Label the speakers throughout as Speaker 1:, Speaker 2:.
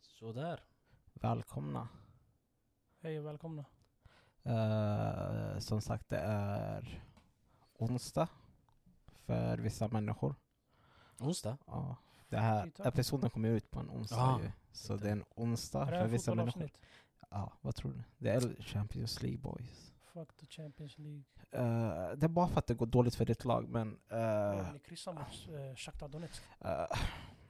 Speaker 1: Sådär.
Speaker 2: Välkomna.
Speaker 1: Hej och välkomna.
Speaker 2: Eh, som sagt, det är onsdag för vissa människor.
Speaker 1: Onsdag?
Speaker 2: Ja, det här
Speaker 1: Titta.
Speaker 2: episoden kommer ju ut på en onsdag
Speaker 1: Ja,
Speaker 2: ju. Så
Speaker 1: titta.
Speaker 2: det är en onsdag
Speaker 1: Är det
Speaker 2: för
Speaker 1: här
Speaker 2: vissa människor.
Speaker 1: fotbollavsnitt?
Speaker 2: Ja, vad tror du? Det är Champions League boys.
Speaker 1: Fuck the Champions League.
Speaker 2: Eh, det är bara för att det går dåligt för ditt lag, men... eh,
Speaker 1: Ja, ni kryssar mot eh, Shakhtar Donetsk.
Speaker 2: eh,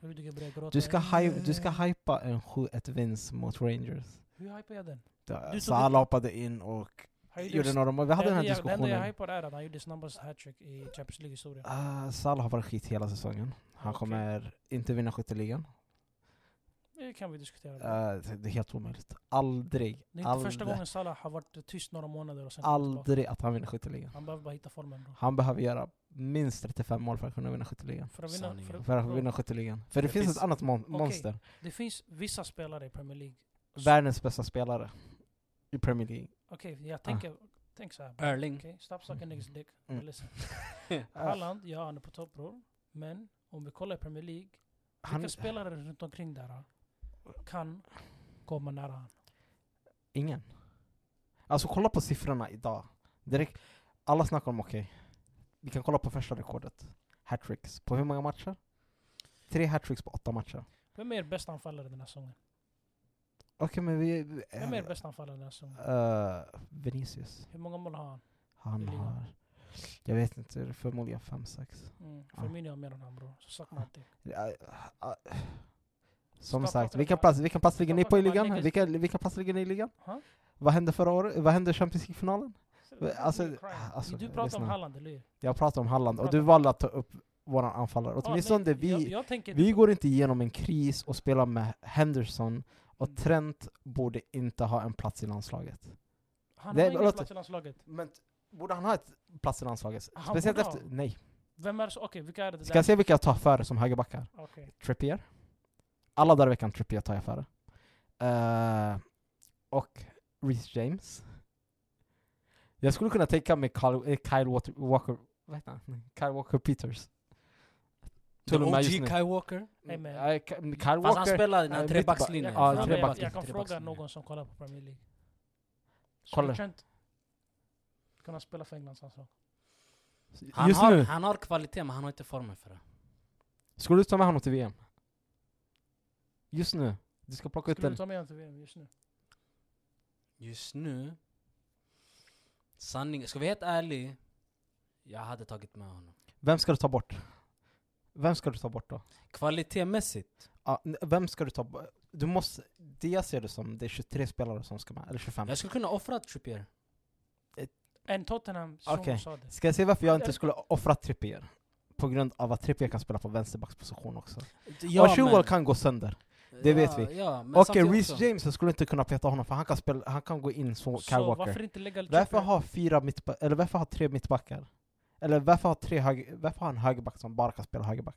Speaker 1: Rudiger börjar gråta.
Speaker 2: du, ska hy- du ska hypa en 7-1 vinst mot Rangers.
Speaker 1: Eh, Hur hypar jag den?
Speaker 2: Det-
Speaker 1: Du tog
Speaker 2: Salah
Speaker 1: upp-
Speaker 2: hoppade in och
Speaker 1: Han gjorde
Speaker 2: gjorde
Speaker 1: ex-
Speaker 2: några mål. Vi hade
Speaker 1: det
Speaker 2: den här
Speaker 1: enda jag- Det enda jag
Speaker 2: diskussionen.
Speaker 1: hypar är att han gjorde snabbast hattrick i Champions League-historien.
Speaker 2: Uh, Salah har varit skit hela säsongen. Han
Speaker 1: Okej.
Speaker 2: kommer inte vinna skytteligan.
Speaker 1: Det kan vi diskutera.
Speaker 2: Eh, det är helt omöjligt. Aldrig,
Speaker 1: det är inte första
Speaker 2: aldrig,
Speaker 1: gången Salah har varit tyst några månader och sen kommer tillbaka.
Speaker 2: aldrig att han vinner skytteligan.
Speaker 1: Han behöver bara hitta formen bro.
Speaker 2: Han behöver göra minst 35 mål för att kunna vinna skytteligan.
Speaker 1: För att vinna,
Speaker 3: Sanningen.
Speaker 1: för,
Speaker 2: För att
Speaker 1: bro,
Speaker 2: vinna skytteligan. För det,
Speaker 1: Det
Speaker 2: finns,
Speaker 1: finns-
Speaker 2: ett annat mon-
Speaker 1: Okej.
Speaker 2: monster.
Speaker 1: Det finns vissa spelare i Premier League.
Speaker 2: Världens bästa spelare i Premier League.
Speaker 1: Okej, jag tänker... Tänk så här. bro.
Speaker 3: Erling.
Speaker 1: Okej, stop sucking niggas dick.
Speaker 2: Ah. Mm.
Speaker 1: Listen.
Speaker 2: Eh,
Speaker 1: Haaland, ja han är på topp bror. Men om vi kollar i Premier League,
Speaker 2: han,
Speaker 1: vilka spelare runt omkring där ah, kan komma nära han?
Speaker 2: ingen. Alltså kolla på siffrorna idag. Direkt, alla snackar om okej. Vi kan kolla på första rekordet. Hattricks. På hur många matcher? Tre hattricks på åtta matcher.
Speaker 1: Vem är er bästa anfallare den här säsongen?
Speaker 2: Okej men vi... vi-
Speaker 1: Vem är er bästa anfallare den här säsongen?
Speaker 2: Eh, Vinicius.
Speaker 1: Hur många mål har han?
Speaker 2: Han
Speaker 1: Ligan.
Speaker 2: har... Jag vet inte, förmodligen 5-6.
Speaker 1: Mm. Firmino har mer än han bror, så saknar alltid.
Speaker 2: Som
Speaker 1: Stoppa
Speaker 2: Eh, sagt,
Speaker 1: för
Speaker 2: vilken
Speaker 1: fan.
Speaker 2: plats, vilken plats ligger ni
Speaker 1: Stoppa
Speaker 2: på i
Speaker 1: för fan,
Speaker 2: ligan?
Speaker 1: Niklas.
Speaker 2: Vilken, vilken plats ligger ni i ligan?
Speaker 1: Ha?
Speaker 2: Vad hände förra året? Vad hände i Champions League-finalen? Alltså, alltså,
Speaker 1: du pratar
Speaker 2: lyssna.
Speaker 1: om Haaland, eller hur?
Speaker 2: Jag pratar om Halland och
Speaker 1: Prata.
Speaker 2: du valde att ta upp våran anfallare.
Speaker 1: Ja,
Speaker 2: Åtminstone
Speaker 1: nej, jag,
Speaker 2: vi,
Speaker 1: jag tänker,
Speaker 2: vi går inte igenom en kris och spelar med Henderson och
Speaker 1: Mm.
Speaker 2: Trent borde inte ha en plats i landslaget.
Speaker 1: han
Speaker 2: Nej,
Speaker 1: har ingen
Speaker 2: låt-
Speaker 1: plats i landslaget.
Speaker 2: Men borde han ha ett plats i landslaget?
Speaker 1: Han
Speaker 2: Speciellt
Speaker 1: borde ha.
Speaker 2: efter... Nej.
Speaker 1: Vem är det så- Okej, vilka är det
Speaker 2: Ska jag
Speaker 1: där?
Speaker 2: se vilka jag tar före som högerbackar?
Speaker 1: Okej.
Speaker 2: Trippier. Alla dagar i veckan Trippier tar jag före. Eh, och Reece James. Jag skulle kunna tänka mig Kyle, eh, Kyle Water, Walker, vad heter han? Kyle Walker Peters.
Speaker 3: The
Speaker 2: Till och med
Speaker 3: OG
Speaker 2: just nu.
Speaker 3: Kai Walker.
Speaker 1: Nej, men-
Speaker 2: Eh, Ka- Kyle
Speaker 3: Fast han
Speaker 2: Walker.
Speaker 3: spelar i
Speaker 2: eh,
Speaker 3: den
Speaker 1: Jag
Speaker 3: trebackslinjen.
Speaker 1: kan
Speaker 2: Ja,
Speaker 1: fråga-
Speaker 2: treback-
Speaker 1: Jag kan fråga
Speaker 3: trebackslinjen.
Speaker 1: någon som kollar på Premier League.
Speaker 2: Kolla.
Speaker 1: Skulle Trent kunna spela för alltså? Englands landslag?
Speaker 3: Han,
Speaker 2: Just
Speaker 3: har,
Speaker 2: nu.
Speaker 3: han har kvalitet men han har inte formen för det.
Speaker 2: Skulle du ta med honom till VM? Just nu. Du ska plocka ut
Speaker 1: Skulle
Speaker 2: den.
Speaker 1: du ta med honom till VM just nu?
Speaker 3: Just nu... Sanning, ska vi vara helt ärlig? Jag hade tagit med honom.
Speaker 2: Vem ska du ta bort? Vem ska du ta bort då?
Speaker 3: Kvalitetmässigt?
Speaker 2: Ja, n- vem ska du ta bort? Du måste, det jag ser det som, det är 23 spelare som ska med, eller 25.
Speaker 3: Jag skulle kunna offra Trippier.
Speaker 1: En Tottenham som
Speaker 2: Okej.
Speaker 1: sa det.
Speaker 2: Ska jag säga varför jag inte skulle offra Trippier? På grund av att Trippier kan spela på vänsterbacksposition också. och Chilwell kan gå sönder. det vet vi.
Speaker 3: Ja, men
Speaker 2: Och
Speaker 3: samtidigt
Speaker 2: Reece
Speaker 3: också.
Speaker 2: James jag skulle inte kunna peta honom för han kan, spela, han kan gå in som Kyle
Speaker 1: Så
Speaker 2: Walker.
Speaker 1: varför inte lägga lite
Speaker 2: Varför ha, fyra mittba- eller varför ha tre mittbackar? Eller varför ha, tre höger- varför ha en högerback som bara kan spela högerback?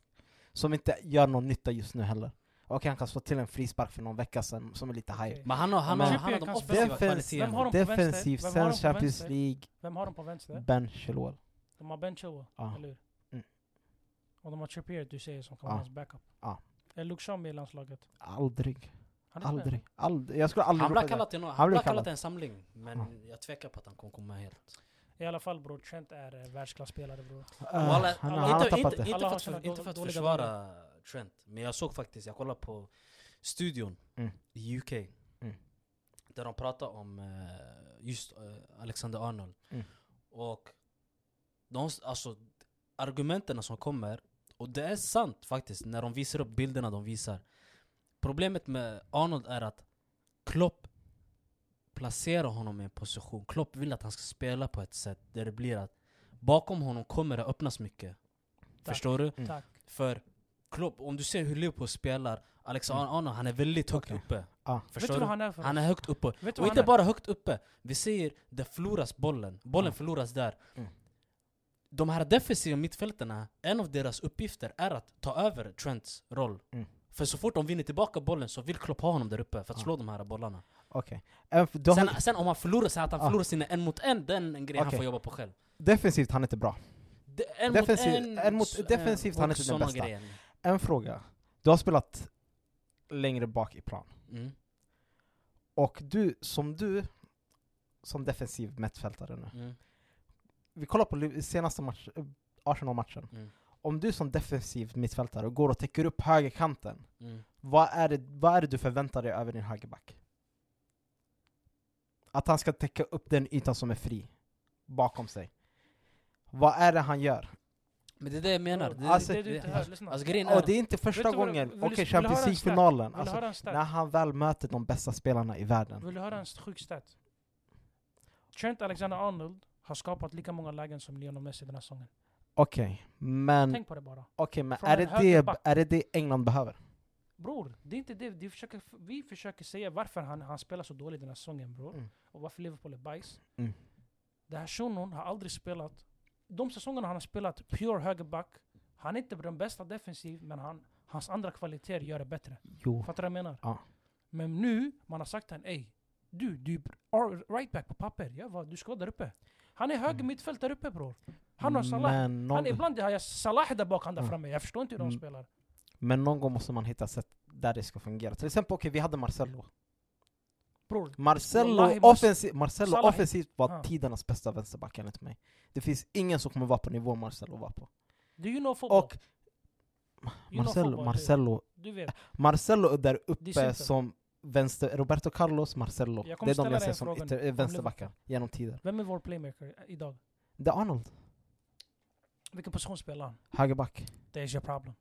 Speaker 2: Som inte gör någon nytta just nu heller. Och han kan slå till en frispark för någon vecka sedan som är lite hype.
Speaker 3: Men han har, han har,
Speaker 2: Men-
Speaker 3: han har de
Speaker 1: Trippier kan
Speaker 3: offensiva
Speaker 2: spela- Defense-
Speaker 1: Vem har
Speaker 3: kvaliteterna.
Speaker 1: de på vänster?
Speaker 2: Defensiv,
Speaker 1: Vem har
Speaker 2: sen
Speaker 1: de på
Speaker 2: Champions
Speaker 1: vänster?
Speaker 2: League,
Speaker 1: Vem har de på vänster?
Speaker 2: Ben Chilwell.
Speaker 1: De har Ben Chilwell,
Speaker 2: Mm. Ja.
Speaker 1: eller hur?
Speaker 2: Mm.
Speaker 1: Och de har Trippier du säger som kan
Speaker 2: Ja.
Speaker 1: vara hans backup.
Speaker 2: Ja.
Speaker 1: Är Luke Shaw med i landslaget?
Speaker 2: Aldrig.
Speaker 1: Han är inte med.
Speaker 2: Aldrig. Aldrig. Jag skulle aldrig
Speaker 3: Han blir
Speaker 2: ropa det.
Speaker 3: kallad till någon,
Speaker 2: Han
Speaker 3: han
Speaker 2: blir
Speaker 3: blir kallad
Speaker 2: kallad.
Speaker 3: till en samling.
Speaker 2: Ja.
Speaker 3: Men jag tvekar på att han kommer komma helt.
Speaker 1: I alla fall bror, Trent är eh, världsklasspelare bror.
Speaker 2: Eh,
Speaker 3: Walla,
Speaker 2: han,
Speaker 1: alla-
Speaker 2: han har
Speaker 3: inte,
Speaker 2: tappat
Speaker 3: inte,
Speaker 2: det.
Speaker 3: inte,
Speaker 1: Alla
Speaker 3: för
Speaker 1: har
Speaker 3: att,
Speaker 1: sina
Speaker 3: för, inte för att
Speaker 1: dåliga
Speaker 3: försvara Trent, men jag såg faktiskt, jag kollade på studion
Speaker 2: Mm.
Speaker 3: i UK.
Speaker 2: Mm.
Speaker 3: Där de pratade om eh, just eh, Alexander Arnold.
Speaker 2: Mm.
Speaker 3: Och de, alltså, argumenten som kommer, och det är sant faktiskt när de visar upp bilderna de visar. Problemet med Arnold är att Klopp placerar honom i en position. Klopp vill att han ska spela på ett sätt där det blir att bakom honom kommer det öppnas mycket.
Speaker 1: Tack.
Speaker 3: Förstår du?
Speaker 2: Mm.
Speaker 1: Tack.
Speaker 3: För Klopp, om du ser hur Liverpool spelar, Alexander
Speaker 2: Mm.
Speaker 3: Arnold, han är väldigt högt
Speaker 2: Okej.
Speaker 3: uppe.
Speaker 2: Ja.
Speaker 1: Ah. Vet du
Speaker 3: Förstår
Speaker 1: vad
Speaker 3: du?
Speaker 1: han är för
Speaker 3: Han
Speaker 1: oss?
Speaker 3: är högt uppe.
Speaker 1: Vet du
Speaker 3: Och
Speaker 1: vad han
Speaker 3: inte
Speaker 1: är?
Speaker 3: bara högt uppe. Vi ser, det förloras bollen. Bollen
Speaker 2: Mm.
Speaker 3: förloras där.
Speaker 2: Mm.
Speaker 3: De här defensiva mittfältarna, en av deras uppgifter är att ta över Trents roll.
Speaker 2: Mm.
Speaker 3: För så fort de vinner tillbaka bollen så vill Klopp ha honom där uppe
Speaker 1: Ah.
Speaker 3: för att
Speaker 2: Ja.
Speaker 3: slå de här bollarna.
Speaker 2: Okej. Även för- då
Speaker 3: Sen,
Speaker 2: han-
Speaker 3: sen om han förlorar, så att han
Speaker 1: Ah.
Speaker 2: Ja.
Speaker 3: förlorar sina en mot en, den är en grej han
Speaker 2: Okej.
Speaker 3: får jobba på själv.
Speaker 2: Defensivt, han är inte bra.
Speaker 3: De, en,
Speaker 2: Defensiv-
Speaker 3: mot en,
Speaker 2: en mot-
Speaker 3: s- eh,
Speaker 2: defensivt, han är
Speaker 3: och
Speaker 2: inte den
Speaker 3: såna
Speaker 2: bästa.
Speaker 3: grejer.
Speaker 2: En fråga. Du har spelat längre bak i plan.
Speaker 3: Mm.
Speaker 2: Och du, som du, som defensiv mittfältare nu.
Speaker 3: Mm.
Speaker 2: Vi kollar på Liv- senaste match, eh, Arsenal-matchen.
Speaker 3: Mm.
Speaker 2: Om du som defensiv mittfältare går och täcker upp högerkanten,
Speaker 3: Mm.
Speaker 2: vad är, det, vad är det du förväntar dig över din högerback? Att han ska täcka upp den ytan som är fri bakom sig. Vad är det han gör?
Speaker 3: Men det är det jag menar. Det,
Speaker 2: Alltså-
Speaker 1: det, är du inte hör, lyssna.
Speaker 3: alltså grejen
Speaker 2: Och
Speaker 3: är...
Speaker 2: det är inte
Speaker 1: Vet
Speaker 2: första
Speaker 1: du vad-
Speaker 2: gången,
Speaker 1: vill du-
Speaker 2: okej
Speaker 1: vill du höra
Speaker 2: Champions
Speaker 1: en stat?
Speaker 2: League-finalen,
Speaker 1: Vill du
Speaker 2: alltså,
Speaker 1: höra Mm. en stat?
Speaker 2: när han väl möter de bästa spelarna i världen.
Speaker 1: Vill du höra en sjuk stat? Trent Alexander-Arnold har skapat lika många lägen som Lionel Messi den här säsongen.
Speaker 2: Okej, men,
Speaker 1: Tänk på det bara.
Speaker 2: okay, men
Speaker 1: från
Speaker 2: är,
Speaker 1: en
Speaker 2: det det,
Speaker 1: högerback.
Speaker 2: är det det England behöver?
Speaker 1: Bror, det är inte det. Vi försöker, vi försöker säga varför han, han spelar så dåligt den här säsongen bror.
Speaker 2: Mm.
Speaker 1: Och varför Liverpool är bajs.
Speaker 2: Mm.
Speaker 1: Den här shunon har aldrig spelat... De säsongerna han har spelat pure högerback, han är inte den bästa defensiv, men han, hans andra kvaliteter gör det bättre.
Speaker 2: Jo.
Speaker 1: Fattar du vad jag menar?
Speaker 2: Ja.
Speaker 1: Men nu, man har sagt till honom, ey, du, du är right back på papper. Ja, vad, du ska där uppe. Han är höger
Speaker 2: Mm.
Speaker 1: mittfält där uppe bror. Han har Salah.
Speaker 2: Men någon,
Speaker 1: Han, ibland har jag Salah där bak, han där
Speaker 2: Ja.
Speaker 1: framme. Jag förstår inte hur de
Speaker 2: Mm.
Speaker 1: spelar.
Speaker 2: men någon gång måste man hitta sätt där det ska fungera. Till exempel, okej vi hade Marcello.
Speaker 1: Bror, Wallahi,
Speaker 2: Marcello,
Speaker 1: Mar-
Speaker 2: offensi- Marcello
Speaker 1: Salah-
Speaker 2: offensivt var
Speaker 1: Ja.
Speaker 2: tidernas bästa vänsterback enligt mig. Det finns ingen som kommer vara på nivå Marcello var på.
Speaker 1: do you know football?
Speaker 2: Och
Speaker 1: you know
Speaker 2: Marcello,
Speaker 1: football,
Speaker 2: Marcello,
Speaker 1: Du, du vet.
Speaker 2: Marcello är där uppe
Speaker 1: simpelt.
Speaker 2: som vänster, Roberto Carlos, Marcello.
Speaker 1: Jag
Speaker 2: Det
Speaker 1: kommer
Speaker 2: är de
Speaker 1: ställa
Speaker 2: jag
Speaker 1: dig
Speaker 2: ser
Speaker 1: en
Speaker 2: som
Speaker 1: fråga
Speaker 2: ytter-
Speaker 1: nu, om
Speaker 2: vänsterbackar genom tiden.
Speaker 1: Vem är vår playmaker eh, idag?
Speaker 2: Det är Arnold,
Speaker 1: Vilken position spelar han?
Speaker 2: högerback.
Speaker 1: Det är your problem.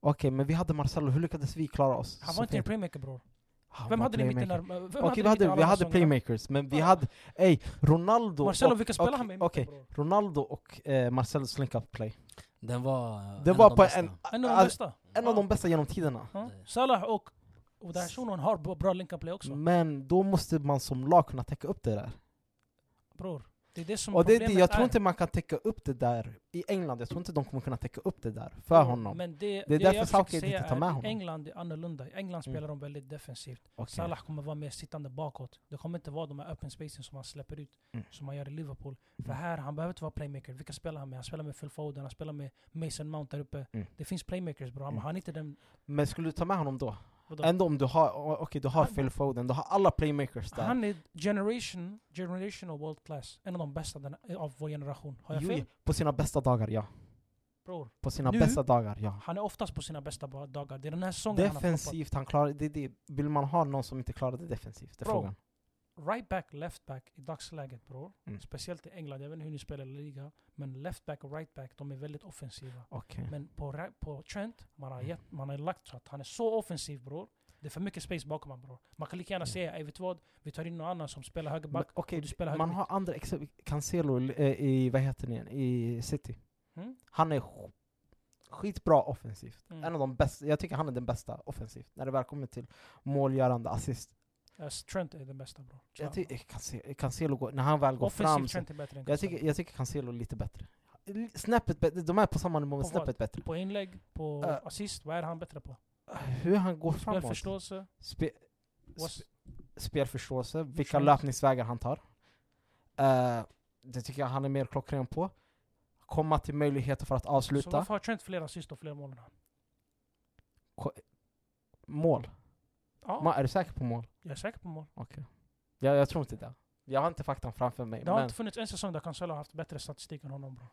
Speaker 2: Okej, men vi hade Marcello, hur lyckades vi klara oss?
Speaker 1: Han
Speaker 2: så
Speaker 1: var inte
Speaker 2: fel?
Speaker 1: en playmaker bror.
Speaker 2: Han
Speaker 1: Vem
Speaker 2: var
Speaker 1: hade ni i mitten
Speaker 2: playmaker.
Speaker 1: där? Vem
Speaker 2: Okej,
Speaker 1: ni i
Speaker 2: vi
Speaker 1: mitten
Speaker 2: hade,
Speaker 1: alla
Speaker 2: vi hade
Speaker 1: säsongerna?
Speaker 2: playmakers, men vi
Speaker 1: Ja.
Speaker 2: hade... Ey, Ronaldo
Speaker 1: Marcelo,
Speaker 2: och,
Speaker 1: vilka spelar han med i mitten
Speaker 2: okej.
Speaker 1: bror?
Speaker 2: Ronaldo och eh, Marcellos link-up play.
Speaker 3: Den var... eh,
Speaker 2: Det
Speaker 3: en
Speaker 2: var
Speaker 3: av de
Speaker 2: på
Speaker 3: bästa.
Speaker 2: en,
Speaker 1: En av de
Speaker 2: alltså,
Speaker 1: bästa.
Speaker 2: en av de bästa genom tiderna.
Speaker 1: Ja. Salah oh, och... Och den här shunon har bra- bra link play också.
Speaker 2: Men då måste man som lag kunna täcka upp det där.
Speaker 1: Bror, det är det som
Speaker 2: Och det, är det,
Speaker 1: problemet
Speaker 2: jag tror
Speaker 1: är.
Speaker 2: inte man kan täcka upp det där i England, jag tror inte de kommer kunna täcka upp det där för
Speaker 1: Jo,
Speaker 2: honom.
Speaker 1: Mm, Men det,
Speaker 2: Det är
Speaker 1: det
Speaker 2: därför
Speaker 1: jag
Speaker 2: Southgate
Speaker 1: försöker säga
Speaker 2: inte tar med
Speaker 1: är att
Speaker 2: honom.
Speaker 1: England är annorlunda. I England
Speaker 2: Mm.
Speaker 1: spelar de väldigt defensivt.
Speaker 2: Okej.
Speaker 1: Salah kommer vara mer sittande bakåt. Det kommer inte vara de här öppen spacen som han släpper ut,
Speaker 2: Mm.
Speaker 1: som han gör i Liverpool. För
Speaker 2: Mm.
Speaker 1: här, han behöver inte vara playmaker. Vilka spelar han med? Han spelar med Phil Foden, han spelar med Mason Mount där uppe.
Speaker 2: Mm.
Speaker 1: Det finns playmakers bra, men
Speaker 2: Mm.
Speaker 1: han är inte den...
Speaker 2: Men skulle du ta med honom då?
Speaker 1: vadå?
Speaker 2: Ändå om du har, o- okej du har
Speaker 1: Han-
Speaker 2: Phil Foden, du har alla playmakers där.
Speaker 1: Han är generation, generational world class. En av de bästa den, av vår generation. Har jag
Speaker 2: Jo,
Speaker 1: fel?
Speaker 2: ja, på sina bästa dagar, ja.
Speaker 1: Bror,
Speaker 2: På sina
Speaker 1: Nu-
Speaker 2: bästa dagar, ja.
Speaker 1: han är oftast på sina bästa ba- dagar. Det är den här säsongen han har floppat.
Speaker 2: Defensivt, han klarar det, är det. Vill man ha någon som inte klarar det defensivt? Det är
Speaker 1: Bro.
Speaker 2: frågan.
Speaker 1: right back, left back i dagsläget bror.
Speaker 2: Mm.
Speaker 1: Speciellt i England, jag vet inte hur ni spelar i liga. Men left back och right back, de är väldigt offensiva.
Speaker 2: Okej.
Speaker 1: Men på, ra- på Trent, man
Speaker 2: Mm.
Speaker 1: har, gett, man har lagt så att han är så offensiv bror. Det är för mycket space bakom honom bror. Man kan lika
Speaker 2: Mm.
Speaker 1: gärna säga, "Ey, vet du vad? Vi tar in någon annan som spelar
Speaker 2: Men
Speaker 1: högerback.
Speaker 2: Okej,
Speaker 1: och du spelar
Speaker 2: man
Speaker 1: högermitt.
Speaker 2: har andra exempel. Cancelo eh, i, vad heter ni, i City.
Speaker 1: Mm?
Speaker 2: Han är sk- skitbra offensivt.
Speaker 1: Mm.
Speaker 2: En av de bästa, jag tycker han är den bästa offensivt. När det väl kommer till målgörande assist.
Speaker 1: Yes, Alltså, Trent är den bästa bror.
Speaker 2: Jag tycker eh, Cance- Cancelo, går, när han väl går
Speaker 1: Offensiv
Speaker 2: fram. så-
Speaker 1: Trent är bättre än
Speaker 2: Jag
Speaker 1: Cancelo.
Speaker 2: tycker, jag tycker Cancelo är lite bättre. L- Snäppet bättre, de är på samma nivå men
Speaker 1: På vad?
Speaker 2: snäppet bättre.
Speaker 1: På inlägg, på
Speaker 2: Eh.
Speaker 1: assist, vad är han bättre på?
Speaker 2: Hur han går framåt.
Speaker 1: Spelförståelse?
Speaker 2: Spe,
Speaker 1: Was-
Speaker 2: spelförståelse, vilka
Speaker 1: Förståelse.
Speaker 2: löpningsvägar han tar. Eh, det tycker jag han är mer klockren på. Komma till möjligheter för att
Speaker 1: Så
Speaker 2: avsluta.
Speaker 1: varför har Trent fler assist och fler mål än han?
Speaker 2: Mål.
Speaker 1: Ja,
Speaker 2: Ma, är du säker på mål?
Speaker 1: jag är säker på mål.
Speaker 2: Ja, jag tror inte det. Jag har inte faktan framför mig.
Speaker 1: Det har
Speaker 2: Men
Speaker 1: inte funnits en säsong där Cancelo har haft bättre statistik än honom bro.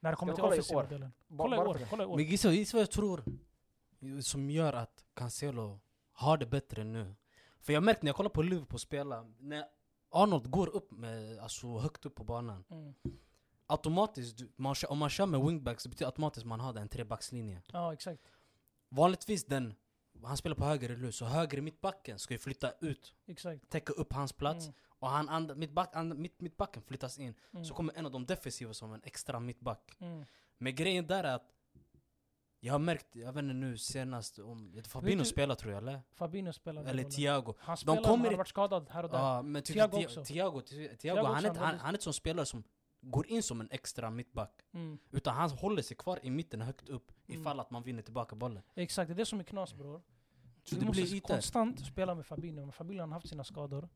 Speaker 1: När det kommer
Speaker 2: vi
Speaker 1: till
Speaker 2: kolla i
Speaker 1: offensiva
Speaker 2: år?
Speaker 1: delen.
Speaker 2: ba-
Speaker 1: Kolla i
Speaker 2: bara
Speaker 1: år,
Speaker 2: för det.
Speaker 1: kolla i år.
Speaker 3: Men gissa, gissa vad jag tror som gör att Cancelo har det bättre nu. För jag märkte när jag kollade på Liverpool spela, när Arnold går upp med, alltså högt upp på banan.
Speaker 1: Mm.
Speaker 3: Automatiskt, du- man, kör- om man kör med wingbacks, det betyder automatiskt man har den trebackslinjen.
Speaker 1: Ja, exakt.
Speaker 3: Vanligtvis den, han spelar på höger eller hur? Så höger mittbacken ska ju flytta ut,
Speaker 1: exakt.
Speaker 3: täcka upp hans plats.
Speaker 1: Mm,
Speaker 3: Och han and, mittback, and, mitt, mittbacken flyttas in.
Speaker 1: mm,
Speaker 3: Så kommer en av de defensiva som en extra mittback.
Speaker 1: mm.
Speaker 3: Men grejen där är att jag har märkt, jag vet inte nu senast om Fabinho
Speaker 1: du-
Speaker 3: spelar tror jag eller?
Speaker 1: Fabinho spelar den
Speaker 3: Eller
Speaker 1: rollen.
Speaker 3: Thiago.
Speaker 1: Han spelar,
Speaker 3: kommer
Speaker 1: han har
Speaker 3: i-
Speaker 1: varit skadad här och där.
Speaker 3: Ja, men tycker
Speaker 1: Thiago
Speaker 3: Thi-
Speaker 1: också.
Speaker 3: Thiago, Thi- Thiago,
Speaker 1: Thiago
Speaker 3: han,
Speaker 1: också,
Speaker 3: är inte,
Speaker 1: han
Speaker 3: han,
Speaker 1: var-
Speaker 3: han är inte sån spelare som går in som en extra mittback.
Speaker 1: Mm.
Speaker 3: Utan han håller sig kvar i mitten högt upp
Speaker 1: Mm.
Speaker 3: ifall att man vinner tillbaka bollen.
Speaker 1: Exakt, det är det som är knas bror.
Speaker 3: Så
Speaker 1: Du
Speaker 3: det blir
Speaker 1: måste
Speaker 3: ytor.
Speaker 1: konstant spela med Fabinho, men Fabinho har haft sina skador.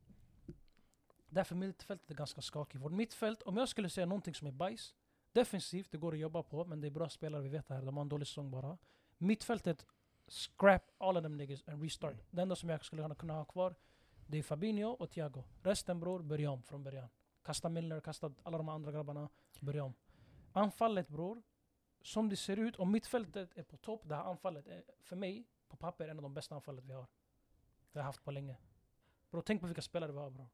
Speaker 1: Därför mittfältet är ganska skakigt. Vårt mittfält, om jag skulle säga någonting som är bajs, defensivt, det går att jobba på, men det är bra spelare, vi vet det här, de har en dålig säsong bara. Mittfältet scrap all of them niggas and restart. Det enda som jag skulle kunna ha kvar, det är Fabinho och Thiago. Resten bror, börja om från början. Kasta Milner, kasta alla de andra grabbarna, börja om. Anfallet bror, som det ser ut, om mittfältet är på topp, det här anfallet är för mig, på papper, en av de bästa anfallet vi har. Vi har haft på länge. Bror, tänk på vilka spelare vi har bror.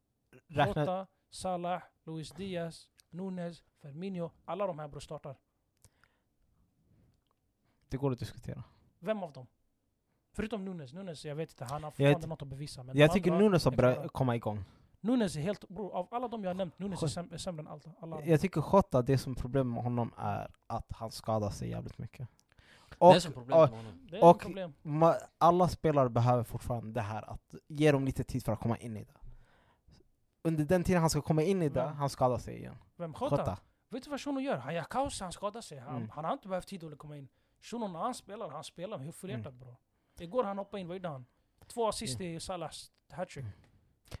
Speaker 2: Räkna,
Speaker 1: Jota, Salah, Luis Diaz, Nunes, Firmino. Alla de här bror startar.
Speaker 2: det går att diskutera.
Speaker 1: Vem av dem? Förutom Nunes. Nunes, jag vet inte, han har
Speaker 2: Jag vet-
Speaker 1: fortfarande något att bevisa. Men
Speaker 2: Jag
Speaker 1: de
Speaker 2: tycker
Speaker 1: andra-
Speaker 2: Nunes har
Speaker 1: är klara.
Speaker 2: börjat komma igång.
Speaker 1: Nunes är helt... Bror, av alla de jag har nämnt, Nunes är,
Speaker 2: Skönt.
Speaker 1: säm- är sämre än allt, alla andra.
Speaker 2: Jag tycker Jota, det som problem med honom är att han skadar sig jävligt mycket.
Speaker 3: Det är
Speaker 2: Och
Speaker 3: som problemet med honom.
Speaker 1: Det är
Speaker 2: och-
Speaker 1: ett problem.
Speaker 2: ma- alla spelare behöver fortfarande det här att ge dem lite tid för att komma in i det. Under den tiden han ska komma in i det,
Speaker 1: Vem?
Speaker 2: han skadar sig igen.
Speaker 1: Vem? Mm. Jota?
Speaker 2: Jota.
Speaker 1: Vet du vad Shunon gör? Han gör kaos, han skadar sig. Han,
Speaker 2: Mm.
Speaker 1: han har inte behövt tid att komma in. Shunon, när han spelar, han spelar med
Speaker 2: Mm.
Speaker 1: fullhjärtat bror. Igår han hoppade in, vad gjorde han? Två assist i Salahs hattrick.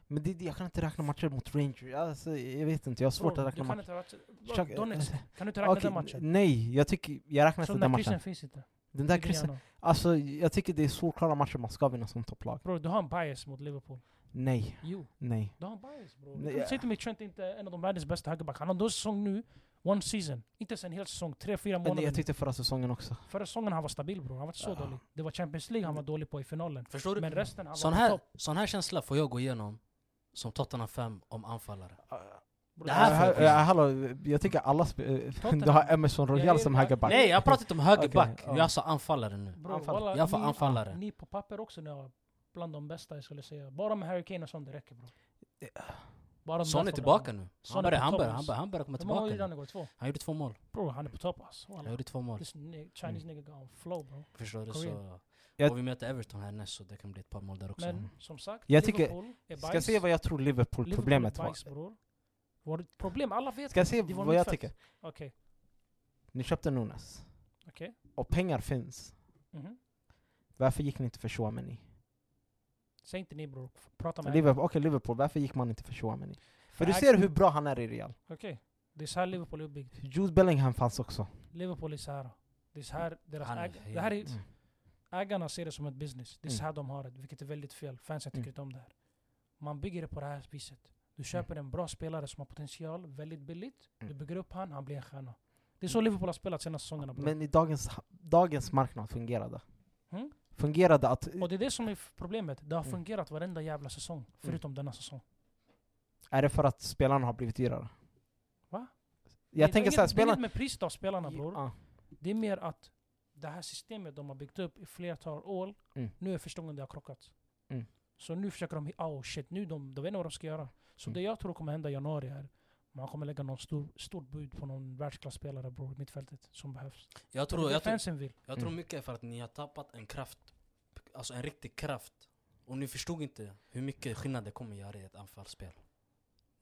Speaker 2: Men det, det- jag kan inte räkna matcher mot Rangers. Alltså, jag vet inte, jag har svårt
Speaker 1: Bror,
Speaker 2: att
Speaker 1: Oh, du
Speaker 2: räkna
Speaker 1: kan
Speaker 2: matcher.
Speaker 1: inte räkna...
Speaker 2: Försök- eh,
Speaker 1: Donetsk, kan du inte räkna
Speaker 2: Okej,
Speaker 1: den matchen?
Speaker 2: Nej, jag tycker, jag räknar inte
Speaker 1: Sådana
Speaker 2: den
Speaker 1: kryssen
Speaker 2: matchen.
Speaker 1: finns inte.
Speaker 2: Den där
Speaker 1: Inte
Speaker 2: kryssen,
Speaker 1: gärna.
Speaker 2: alltså jag tycker det är solklara matcher man ska vinna som topplag.
Speaker 1: Bror, du har en bias mot Liverpool.
Speaker 2: Nej,
Speaker 1: Jo,
Speaker 2: nej.
Speaker 1: du har en bias bror.
Speaker 2: Nej,
Speaker 1: Du kan
Speaker 2: ja.
Speaker 1: säga till mig Trent är inte en av de världens bästa högerback. Han har då säsong nu, one season. Inte ens en hel säsong, tre, fyra
Speaker 2: Men
Speaker 1: månader.
Speaker 2: jag tyckte förra säsongen också.
Speaker 1: Förra säsongen han var stabil bror, han var inte så
Speaker 2: Ja.
Speaker 1: dålig. Det var Champions League han var dålig på i finalen.
Speaker 3: Förstår
Speaker 1: Men
Speaker 3: du?
Speaker 1: resten, han
Speaker 3: Sån
Speaker 1: var
Speaker 3: här,
Speaker 1: topp.
Speaker 3: sån här känsla får jag gå igenom som Tottenham 5 om anfallare.
Speaker 1: Bror,
Speaker 3: Det här
Speaker 1: jag-
Speaker 3: får
Speaker 2: Ja,
Speaker 3: jag
Speaker 2: ja, Äh, hallå, Alltså, jag tycker alla
Speaker 1: Tottenham.
Speaker 2: spe- Du har Emerson Royal som
Speaker 1: Jag gillar-
Speaker 2: högerback.
Speaker 3: Nej, jag pratar inte om högerback.
Speaker 2: Okej, ja.
Speaker 3: Jag sa anfallare nu.
Speaker 1: bror,
Speaker 2: anfall.
Speaker 1: walla,
Speaker 3: Jag får
Speaker 1: ni-
Speaker 3: anfallare.
Speaker 1: Ni på papper också, ni har bland de bästa jag skulle säga. Bara med Harry Kane och sånt, det räcker bror. Bara de
Speaker 3: Son är
Speaker 1: där två
Speaker 3: tillbaka nu.
Speaker 1: Son
Speaker 3: Han
Speaker 1: är
Speaker 3: börjar,
Speaker 1: på
Speaker 3: han
Speaker 1: topp,
Speaker 3: börjar, han
Speaker 1: alltså.
Speaker 3: börjar, han börjar komma
Speaker 1: grabbarna. Hur många gjorde
Speaker 3: tillbaka.
Speaker 1: han
Speaker 3: nu.
Speaker 1: igår? Två?
Speaker 3: Han gjorde två mål.
Speaker 1: Bror, han är på topp alltså.
Speaker 3: Han
Speaker 1: Walla.
Speaker 3: gjorde två mål.
Speaker 1: This ni- Chinese
Speaker 2: Mm.
Speaker 1: nigga got on flow bro.
Speaker 3: Förstår du?
Speaker 1: Korea.
Speaker 3: Så...
Speaker 2: Jag-
Speaker 3: Och vi möter Everton härnäst så det kan bli ett par mål där också.
Speaker 1: Men som sagt,
Speaker 2: Jag tycker-
Speaker 1: Liverpool är
Speaker 2: Ska jag säga vad jag tror
Speaker 1: Liverpool är
Speaker 2: Liverpool-problemet var?
Speaker 1: bajs, bror. Vårt problem, alla vet
Speaker 2: Ska jag säga
Speaker 1: det var
Speaker 2: vad jag
Speaker 1: mittfält.
Speaker 2: tycker?
Speaker 1: Okej,
Speaker 2: Ni köpte Nunes.
Speaker 1: Okej.
Speaker 2: Och pengar finns.
Speaker 1: mhm.
Speaker 2: Varför gick ni inte för Chouameni?
Speaker 1: Säg inte ni bror, F- prata med
Speaker 2: Liverpool, Okej, Liverpool. Varför gick man inte för Chouameni? För du
Speaker 1: Äg-
Speaker 2: ser hur bra han är i Real.
Speaker 1: Okej, det är så här Liverpool är uppbyggt.
Speaker 2: Jude Bellingham fanns också.
Speaker 1: Liverpool är så här. Det är så här deras
Speaker 3: Han är
Speaker 1: äg- det här är,
Speaker 2: Mm.
Speaker 1: ägarna ser det som ett business. Det är så
Speaker 2: Mm.
Speaker 1: här de har det, vilket är väldigt fel. Fansen tycker
Speaker 2: Mm.
Speaker 1: inte om det här. Man bygger det på det här viset. Du köper en bra spelare som har potential, väldigt billigt. Du
Speaker 2: Mm.
Speaker 1: bygger upp han, han blir en stjärna. Det är så Liverpool har spelat senaste säsongerna. bror.
Speaker 2: Men i dagens, dagens marknad fungerade.
Speaker 1: Mm.
Speaker 2: Fungerade att...
Speaker 1: Och det är det som är f- problemet. Det har
Speaker 2: Mm.
Speaker 1: fungerat varenda jävla säsong, förutom denna säsong.
Speaker 2: Är det för att spelarna har blivit dyrare?
Speaker 1: Va?
Speaker 2: Jag
Speaker 1: det
Speaker 2: tänker
Speaker 1: är inget-
Speaker 2: såhär,
Speaker 1: Det är
Speaker 2: spelarna...
Speaker 1: inget med priset av spelarna bror.
Speaker 2: Ja.
Speaker 1: Det är mer att det här systemet de har byggt upp i flertal år,
Speaker 2: Mm.
Speaker 1: nu är första gången det har krockat.
Speaker 2: Mm.
Speaker 1: Så nu försöker de, hi- oh shit, nu de, de vet inte vad de ska göra. Så
Speaker 2: Mm.
Speaker 1: det jag tror kommer hända i januari är, man kommer lägga någon stor, stort bud på någon världsklasspelare bror, i mittfältet, som behövs.
Speaker 3: Jag
Speaker 1: det är
Speaker 3: tror,
Speaker 1: det
Speaker 3: jag, tror,
Speaker 1: fansen vill.
Speaker 3: jag tror
Speaker 2: Mm.
Speaker 3: mycket är för att ni har tappat en kraft. Alltså en riktig kraft. Och ni förstod inte hur mycket skillnad det kommer göra i ett anfallsspel.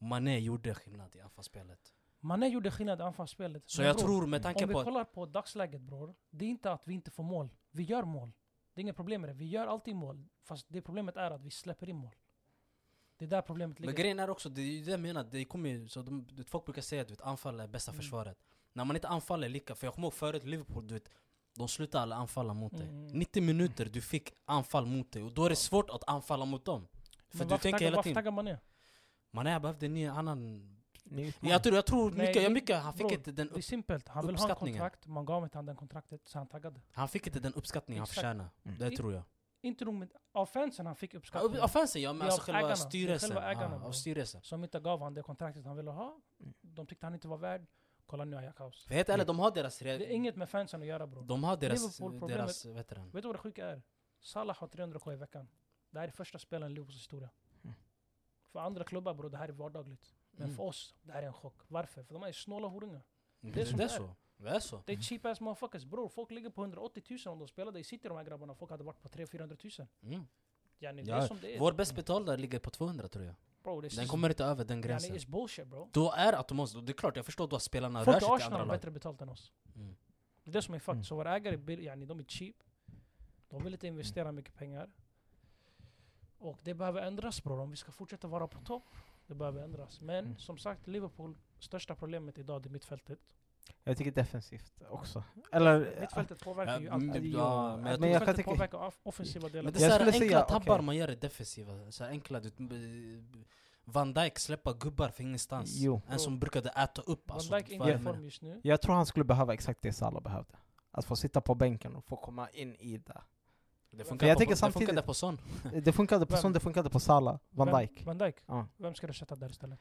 Speaker 3: Mané gjorde skillnad i anfallsspelet.
Speaker 1: Mané gjorde skillnad i anfallsspelet.
Speaker 3: Så
Speaker 1: Men
Speaker 3: jag
Speaker 1: bror,
Speaker 3: tror med
Speaker 1: Om
Speaker 3: tanke
Speaker 1: vi
Speaker 3: på att
Speaker 1: kollar på dagsläget bror, det är inte att vi inte får mål. Vi gör mål. Det är inga problem med det. Vi gör alltid mål. Fast det problemet är att vi släpper in mål. Det är där problemet
Speaker 3: Men
Speaker 1: ligger.
Speaker 3: grejen är också, det är ju det jag menar, det kommer ju, så de, du vet, folk brukar säga att anfall är bästa
Speaker 1: Mm.
Speaker 3: försvaret. När man inte anfaller lika, för jag kommer ihåg förut Liverpool, du vet, de slutade alla anfalla mot dig.
Speaker 1: Mm.
Speaker 3: 90 minuter du fick anfall mot dig, och då är det svårt att anfalla mot dem. För
Speaker 1: Men
Speaker 3: du
Speaker 1: varför
Speaker 3: tänker
Speaker 1: taggar-
Speaker 3: hela
Speaker 1: varför
Speaker 3: tiden,
Speaker 1: taggar man ner?
Speaker 3: man är behövde en ny annan...
Speaker 2: Ni utmanar.
Speaker 3: Jag tror, jag tror
Speaker 1: Nej,
Speaker 3: mycket, jag
Speaker 1: det-
Speaker 3: mycket, han fick
Speaker 1: bror,
Speaker 3: inte den,
Speaker 1: Det är
Speaker 3: upp,
Speaker 1: simpelt. Han vill ha en
Speaker 3: uppskattningen.
Speaker 1: kontrakt, man gav inte han den kontraktet, så han taggade.
Speaker 3: han fick inte den uppskattning han
Speaker 1: Exakt.
Speaker 3: förtjänar.
Speaker 2: Mm.
Speaker 3: Det tror jag.
Speaker 1: Inte nog med av fansen han fick
Speaker 3: Ja,
Speaker 1: uppskattning.
Speaker 3: upp- Offensen ja, men
Speaker 1: Det är
Speaker 3: alltså
Speaker 1: av
Speaker 3: själva
Speaker 1: ägarna. Det är
Speaker 3: styrelsen.
Speaker 1: själva ägarna,
Speaker 3: Ja,
Speaker 1: bro.
Speaker 3: av styrelsen.
Speaker 1: Som inte gav han det kontraktet han ville ha.
Speaker 3: Mm.
Speaker 1: De tyckte han inte var värd. Kolla nu har jag kaos.
Speaker 3: För helt ärligt, de har deras...
Speaker 1: Det är inget med fansen att göra bror.
Speaker 3: De har deras,
Speaker 1: Liverpool-problemet-
Speaker 3: deras vad heter den?
Speaker 1: Vet du vad det sjuka är? Salah har 300k i veckan. Det här är första spelaren i Liverpools historia.
Speaker 2: Mm.
Speaker 1: För andra klubbar bror, det här är vardagligt. Men
Speaker 3: Mm.
Speaker 1: för oss, det här är en chock. Varför? För de här är snåla horungar.
Speaker 3: Det är så.
Speaker 1: som
Speaker 3: Det
Speaker 1: Mm, det
Speaker 3: är
Speaker 1: är.
Speaker 3: så. Det är så.
Speaker 1: Det är cheap ass motherfuckers bror. Folk ligger på 180 000 om de spelade i city de här grabbarna. Folk hade varit på 300-400 000.
Speaker 3: Mm.
Speaker 1: Yani, det
Speaker 3: Ja,
Speaker 1: är som det är.
Speaker 3: Vår bäst betalda ligger på 200 tror jag.
Speaker 1: bro, det är
Speaker 3: Den kommer inte över den
Speaker 1: yani,
Speaker 3: gränsen.
Speaker 1: it's bullshit bro.
Speaker 3: Då är automatiskt, det är klart jag förstår då att spelarna
Speaker 1: Folk
Speaker 3: rör sig
Speaker 1: i
Speaker 3: till
Speaker 1: Arsenal
Speaker 3: andra
Speaker 1: har
Speaker 3: lag.
Speaker 1: bättre betalt än oss.
Speaker 3: Mm.
Speaker 1: Det är det som är faktum.
Speaker 2: Mm.
Speaker 1: Så våra ägare, är bill- yani, de är cheap. De vill inte
Speaker 2: Mm.
Speaker 1: investera mycket pengar. Och det behöver ändras bror, om vi ska fortsätta vara på topp. Det behöver ändras. Men
Speaker 2: Mm.
Speaker 1: som sagt, Liverpool, största problemet idag det är mittfältet.
Speaker 2: Jag tycker defensivt också. Eller...
Speaker 1: Mittfältet påverkar ju
Speaker 3: Ja,
Speaker 1: alltid.
Speaker 3: men
Speaker 2: alltid.
Speaker 3: ja, men jag
Speaker 2: Men
Speaker 3: tror-
Speaker 2: jag- kan
Speaker 1: Mittfältet
Speaker 2: tycka-
Speaker 1: påverkar off- offensiva delar.
Speaker 3: men det
Speaker 2: jag
Speaker 3: är såhär
Speaker 2: skulle
Speaker 3: enkla
Speaker 2: säga,
Speaker 3: tabbar
Speaker 2: okej.
Speaker 3: man gör i defensiva. Så här enkla, du, eh, Van Dijk släppa gubbar från ingenstans.
Speaker 2: Jo.
Speaker 3: En som brukade äta upp. Alltså,
Speaker 1: Van Dijk är
Speaker 3: vad är
Speaker 1: inte i
Speaker 3: det med
Speaker 1: form just nu.
Speaker 2: Jag tror han skulle behöva exakt det Salah behövde. Att få sitta på bänken och få komma in i det.
Speaker 3: det?
Speaker 1: Men
Speaker 3: Det funkar,
Speaker 2: jag
Speaker 3: på,
Speaker 2: tänker
Speaker 3: det funkar
Speaker 2: samtidigt-
Speaker 3: där på sån.
Speaker 2: Det funkade på
Speaker 1: Vem?
Speaker 2: Son, det funkade på Salah, Van
Speaker 1: Vem-
Speaker 2: Dijk,
Speaker 1: Van Dijk?
Speaker 2: Ja.
Speaker 1: Vem ska du sätta där istället?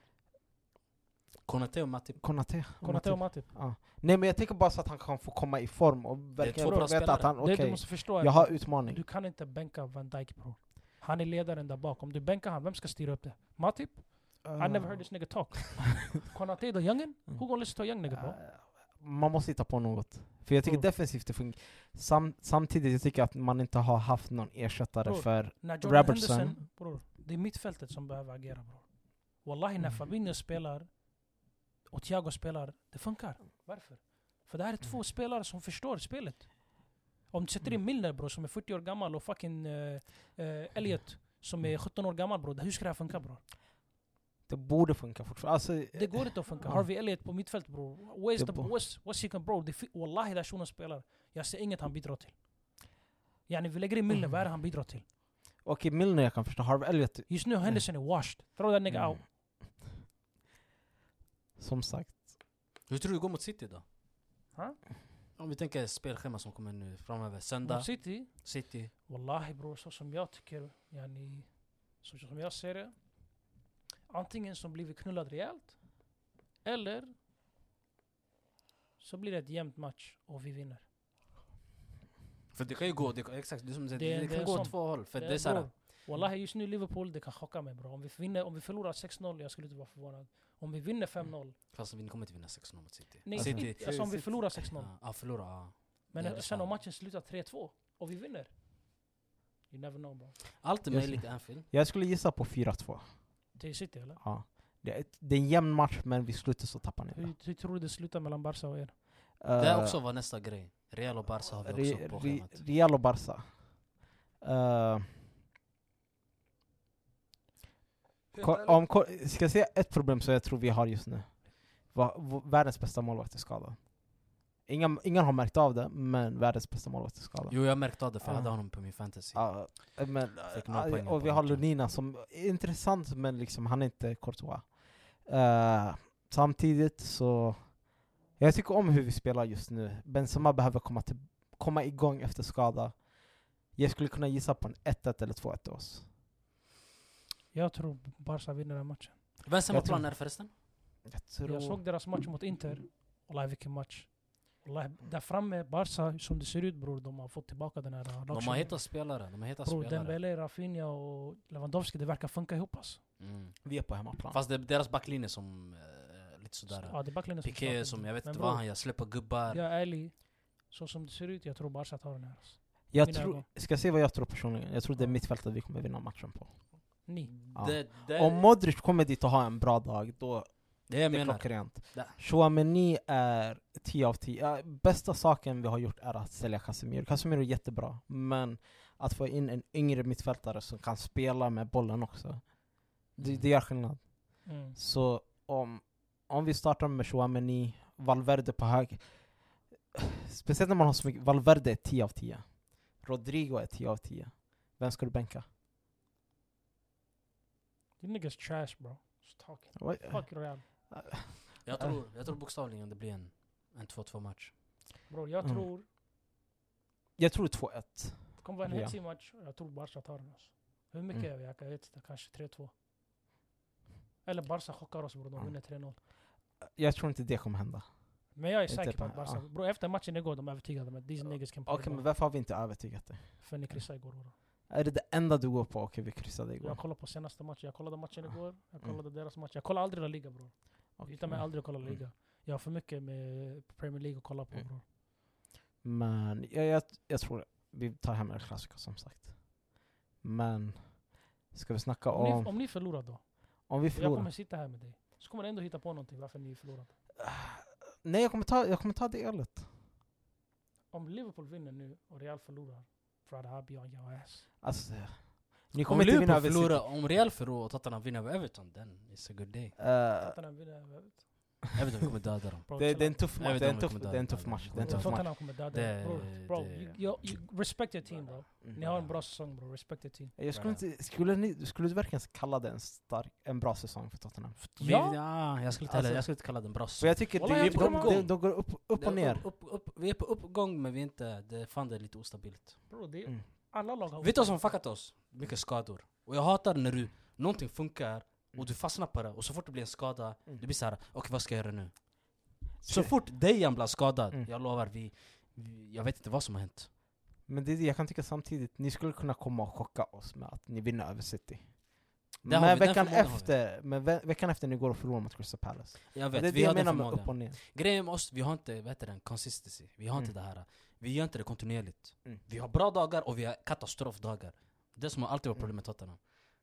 Speaker 3: Konate och Matip.
Speaker 2: Konate.
Speaker 1: Konate och Matip?
Speaker 2: Ja. Nej men jag tänker bara så att han kan få komma i form och verkligen
Speaker 3: två bra
Speaker 2: veta
Speaker 3: spelare.
Speaker 2: att han, okej,
Speaker 1: Det du måste förstå är
Speaker 2: jag
Speaker 1: att
Speaker 2: har utmaning.
Speaker 1: du kan inte bänka Van Dijk bror. Han är ledaren där bak. Om du bänkar han, vem ska styra upp det? Matip?
Speaker 2: Ah.
Speaker 1: I never heard this nigga talk. Konate då, youngen? Who gonna listen to a young nigga bro?
Speaker 2: Eh, Man måste hitta på något. För jag tycker
Speaker 1: Mm.
Speaker 2: defensivt det fungerar. Sam, samtidigt jag tycker jag att man inte har haft någon ersättare
Speaker 1: Bror.
Speaker 2: för...
Speaker 1: När Jordan
Speaker 2: Robertson.
Speaker 1: Henderson, bror. Det är mittfältet som behöver agera bror. Wallahi, när
Speaker 2: Mm.
Speaker 1: Fabinho spelar och Thiago spelar, det funkar. Varför? För det här är
Speaker 2: Mm.
Speaker 1: två spelare som förstår spelet. Om du sätter in Milner bror, som är 40 år gammal och fucking eh, eh, Elliot som
Speaker 2: Mm.
Speaker 1: är 17 år gammal bror. Hur ska det här funka bror?
Speaker 2: Det borde funka fortfarande. Alltså,
Speaker 1: Det går inte att funka.
Speaker 2: Ja.
Speaker 1: Harvey Elliot på mittfält bror.
Speaker 2: Det
Speaker 1: Where's the,
Speaker 2: bo-
Speaker 1: what's, what's he can bro? Det fi- wallahi där shunon spelar. Jag ser inget han bidrar till. Yani vi lägger in Milner,
Speaker 2: Mm.
Speaker 1: vad är det han bidrar till?
Speaker 2: eh, Okej, Milner jag kan förstå. Harvey Elliot,
Speaker 1: Just nu Henderson är washed. Throw that nigga
Speaker 2: Mm.
Speaker 1: out.
Speaker 2: som sagt.
Speaker 3: Hur tror du det går mot City då?
Speaker 1: Ha?
Speaker 3: Om vi tänker spelschema som kommer nu framöver. Söndag,
Speaker 1: Mot City?
Speaker 3: City.
Speaker 1: Wallahi bror, så som jag tycker, yani, så som jag ser det. Antingen som blir vi knullad rejält, eller så blir det ett jämnt match och vi vinner.
Speaker 3: För det kan ju gå, det, kan- exakt, det, är som, du
Speaker 1: Det
Speaker 3: säger,
Speaker 1: är-
Speaker 3: det,
Speaker 1: det
Speaker 3: kan
Speaker 1: är
Speaker 3: gå
Speaker 1: sånt.
Speaker 3: åt två håll. För det, är
Speaker 1: bror,
Speaker 3: såhär,
Speaker 1: Wallahi just nu Liverpool, det kan chocka mig bro. Om vi, vinner, om vi förlorar 6-0, jag skulle inte vara förvånad. Om vi vinner 5-0,
Speaker 3: fast vi kommer inte vinna 6-0 mot City.
Speaker 1: nej,
Speaker 3: City.
Speaker 1: inte, alltså om vi
Speaker 2: City.
Speaker 1: förlorar 6-0.
Speaker 3: Ja, ah, förlora. Ah.
Speaker 1: Men
Speaker 3: det är
Speaker 1: sen
Speaker 3: sant.
Speaker 1: om matchen slutar 3-2 och vi vinner. You never know bro.
Speaker 3: Allt är
Speaker 2: Jag
Speaker 3: möjligt i Anfield.
Speaker 2: Jag skulle gissa på 4-2.
Speaker 1: Det är City eller?
Speaker 2: Ja. Det, är ett- det är en jämn match men vid slutet så tappar ni
Speaker 1: Hur, hur tror du det slutar mellan Barca och er?
Speaker 3: Det
Speaker 2: Eh,
Speaker 3: är också var nästa grej. Real och Barca har vi också på schemat.
Speaker 2: Real och Barca. Eh, ko- om, ko- ska jag säga ett problem som jag tror vi har just nu? Va, va, världens bästa målvakt är skadad. Ingen, ingen har märkt av det, men världens bästa målvakt är skadad.
Speaker 3: Jo jag märkte av det för jag
Speaker 2: Ah.
Speaker 3: hade honom på min fantasy.
Speaker 2: Ja, men,
Speaker 3: Fick noll
Speaker 2: ja,
Speaker 3: poäng på
Speaker 2: och vi har
Speaker 3: matchen.
Speaker 2: Lunina som är intressant men liksom han är inte Courtois. Eh, samtidigt så, jag tycker om hur vi spelar just nu. Benzema behöver komma, till, komma igång efter skada. Jag skulle kunna gissa på en 1-1 eller 2-1 till oss.
Speaker 1: Jag tror Barca vinner den matchen.
Speaker 3: Vems hemmaplan
Speaker 2: tror-
Speaker 3: är det förresten?
Speaker 2: Jag tror...
Speaker 1: Jag såg deras match mot Inter. Wallahi vilken match. Wallahi, där framme, Barca som det ser ut bror, de har fått tillbaka den här
Speaker 3: De har heta spelare. De har heta
Speaker 1: Bror,
Speaker 3: spelare.
Speaker 1: Dembele, Rafinha och Lewandowski, det verkar funka ihop alltså.
Speaker 3: Mm.
Speaker 2: vi är på hemmaplan.
Speaker 3: Fast det är deras backlinje som eh, lite sådär.
Speaker 1: Ja, det är backlinjen som
Speaker 3: Piqué
Speaker 1: startar.
Speaker 3: som, jag vet
Speaker 1: Men
Speaker 3: inte
Speaker 1: bror,
Speaker 3: vad han gör, släpper gubbar.
Speaker 1: Jag är ärlig. Så som det ser ut, jag tror Barca tar den här. Alltså.
Speaker 2: jag
Speaker 1: mina
Speaker 2: tror,
Speaker 1: ögon.
Speaker 2: ska jag se vad jag tror personligen? Jag tror det är
Speaker 1: Ja.
Speaker 2: mittfältet vi kommer vinna matchen på.
Speaker 1: Ni.
Speaker 2: Ja.
Speaker 3: Det, det,
Speaker 2: Om Modric kommer dit och har en bra dag, då
Speaker 3: det jag
Speaker 2: Det är
Speaker 3: menar.
Speaker 2: klockrent.
Speaker 3: Där.
Speaker 2: Chouameni är 10 av 10. Ja, bästa saken vi har gjort är att sälja Casemiro. Casemiro är jättebra, men att få in en yngre mittfältare som kan spela med bollen också, det, det gör skillnad.
Speaker 1: Mm.
Speaker 2: Så om, om vi startar med Chouameni, Valverde på hög... Speciellt när man har så mycket... Valverde är 10 av 10. Rodrigo är 10 av 10. Vem ska du bänka?
Speaker 1: You niggas trash bro. Just talking. Fuck Real.
Speaker 3: Jag tror, jag tror bokstavligen det blir en, en 2-2 match.
Speaker 1: Bror, jag
Speaker 2: Mm.
Speaker 1: tror
Speaker 2: Jag tror 2-1.
Speaker 1: det kommer vara en
Speaker 2: Ja.
Speaker 1: hetsig match. Jag tror Barca tar den alltså. Hur mycket
Speaker 2: Mm.
Speaker 1: är vi? Jag vet inte, kanske 3-2. Eller Barca chockar oss bror, de
Speaker 2: Ja.
Speaker 1: vinner 3-0.
Speaker 2: Jag tror inte det kommer hända.
Speaker 1: Men jag är
Speaker 2: Inte
Speaker 1: säker på
Speaker 2: på-
Speaker 1: att Barca...
Speaker 2: ja.
Speaker 1: Bro, efter matchen igår, de övertygade mig att these
Speaker 2: Ja.
Speaker 1: niggas kan
Speaker 2: Okej,
Speaker 1: play
Speaker 2: men
Speaker 1: ball.
Speaker 2: varför har vi inte övertygat dig?
Speaker 1: För ni kryssade igår bror.
Speaker 2: Är det det enda du går på? Okej, vi kryssade igår. Mm.
Speaker 1: Jag kollade på senaste matchen, jag kollade matchen igår, jag kollade deras match. Jag kollar aldrig La Liga bror.
Speaker 2: Okej.
Speaker 1: Utan mig aldrig att kolla La
Speaker 2: Mm.
Speaker 1: Liga. Jag har för mycket med Premier League att kolla på
Speaker 2: Mm.
Speaker 1: bror.
Speaker 2: Men jag, jag, jag tror vi tar hem El Clasico som sagt. Men ska vi snacka
Speaker 1: Om,
Speaker 2: om...
Speaker 1: ni, om ni förlorar då,
Speaker 2: Om vi
Speaker 1: jag
Speaker 2: förlorar?
Speaker 1: kommer sitta här med dig. Så kommer du ändå hitta på någonting varför ni förlorade.
Speaker 2: Nej, jag kommer, ta, jag kommer ta det ölet.
Speaker 1: Om Liverpool vinner nu och Real förlorar, brother I'll be on your ass.
Speaker 2: Alltså, ni
Speaker 3: Om
Speaker 2: kommer inte vinna
Speaker 3: Liverpool
Speaker 2: över City.
Speaker 3: förlorar, om Real förlorar och Tottenham vinner över Everton, then it's a good day.
Speaker 2: Eh,
Speaker 1: Tottenham vinner, jag vet.
Speaker 3: Everton kommer döda dem.
Speaker 1: Bro,
Speaker 2: Det,
Speaker 1: chill
Speaker 2: det är en
Speaker 1: out.
Speaker 2: tuff
Speaker 3: Jag
Speaker 2: match,
Speaker 3: vet
Speaker 2: det är
Speaker 3: inte
Speaker 2: en
Speaker 3: om
Speaker 2: tuff,
Speaker 3: vi kommer
Speaker 2: det är en
Speaker 3: döda
Speaker 2: tuff
Speaker 3: dem.
Speaker 2: match. Det är
Speaker 1: Jag
Speaker 2: en tuff
Speaker 1: tror
Speaker 2: match.
Speaker 1: inte han kommer döda
Speaker 3: Det-
Speaker 1: det. Bro, bro
Speaker 3: det-
Speaker 1: you, you, you respect your team bro.
Speaker 2: Mm.
Speaker 1: Ni har en bra säsong bro, respect your team.
Speaker 2: Jag skulle, inte, skulle, ni, skulle du verkligen kalla det en, stark, en bra säsong för Tottenham?
Speaker 3: Vi-
Speaker 1: Ja.
Speaker 3: ja, ah, jag skulle inte
Speaker 2: Alltså-
Speaker 3: heller- jag skulle inte kalla den bra.
Speaker 2: För jag tycker
Speaker 1: Wallah,
Speaker 2: det,
Speaker 1: jag
Speaker 2: de,
Speaker 1: tror de har-
Speaker 2: de, de går upp, upp och
Speaker 3: Det är
Speaker 2: ner.
Speaker 3: Upp, upp, upp, vi är på uppgång men vi är inte, det fan det är lite ostabilt.
Speaker 1: Bro, det,
Speaker 2: Mm.
Speaker 1: alla lag har
Speaker 3: Vet du vad som fuckat oss? Mycket skador. Och jag hatar när du, någonting funkar och du fastnar på det och så fort det blir en skada,
Speaker 2: Mm.
Speaker 3: du blir såhär okej vad ska jag göra nu? Så
Speaker 2: Shit.
Speaker 3: fort Dejan blir skadad,
Speaker 2: Mm.
Speaker 3: jag lovar vi, vi, jag vet inte vad som har hänt.
Speaker 2: Men det, är det jag kan tycka samtidigt, ni skulle kunna komma och chocka oss med att ni vinner över City.
Speaker 3: Det har vi,
Speaker 2: Men
Speaker 3: den
Speaker 2: veckan,
Speaker 3: förmågan har vi.
Speaker 2: efter, men ve- veckan efter ni går och förlorar mot Crystal Palace.
Speaker 3: Jag vet,
Speaker 2: det är det
Speaker 3: vi har
Speaker 2: jag
Speaker 3: den
Speaker 2: menar med
Speaker 3: förmågan.
Speaker 2: upp och ner.
Speaker 3: Grejen med oss, vi har inte, vad heter den, consistency. Vi har inte
Speaker 2: Mm.
Speaker 3: det här. Vi gör inte det kontinuerligt.
Speaker 2: Mm.
Speaker 3: Vi har bra dagar och vi har katastrofdagar. Det som har alltid varit
Speaker 2: Mm.
Speaker 3: problemet med Tottenham.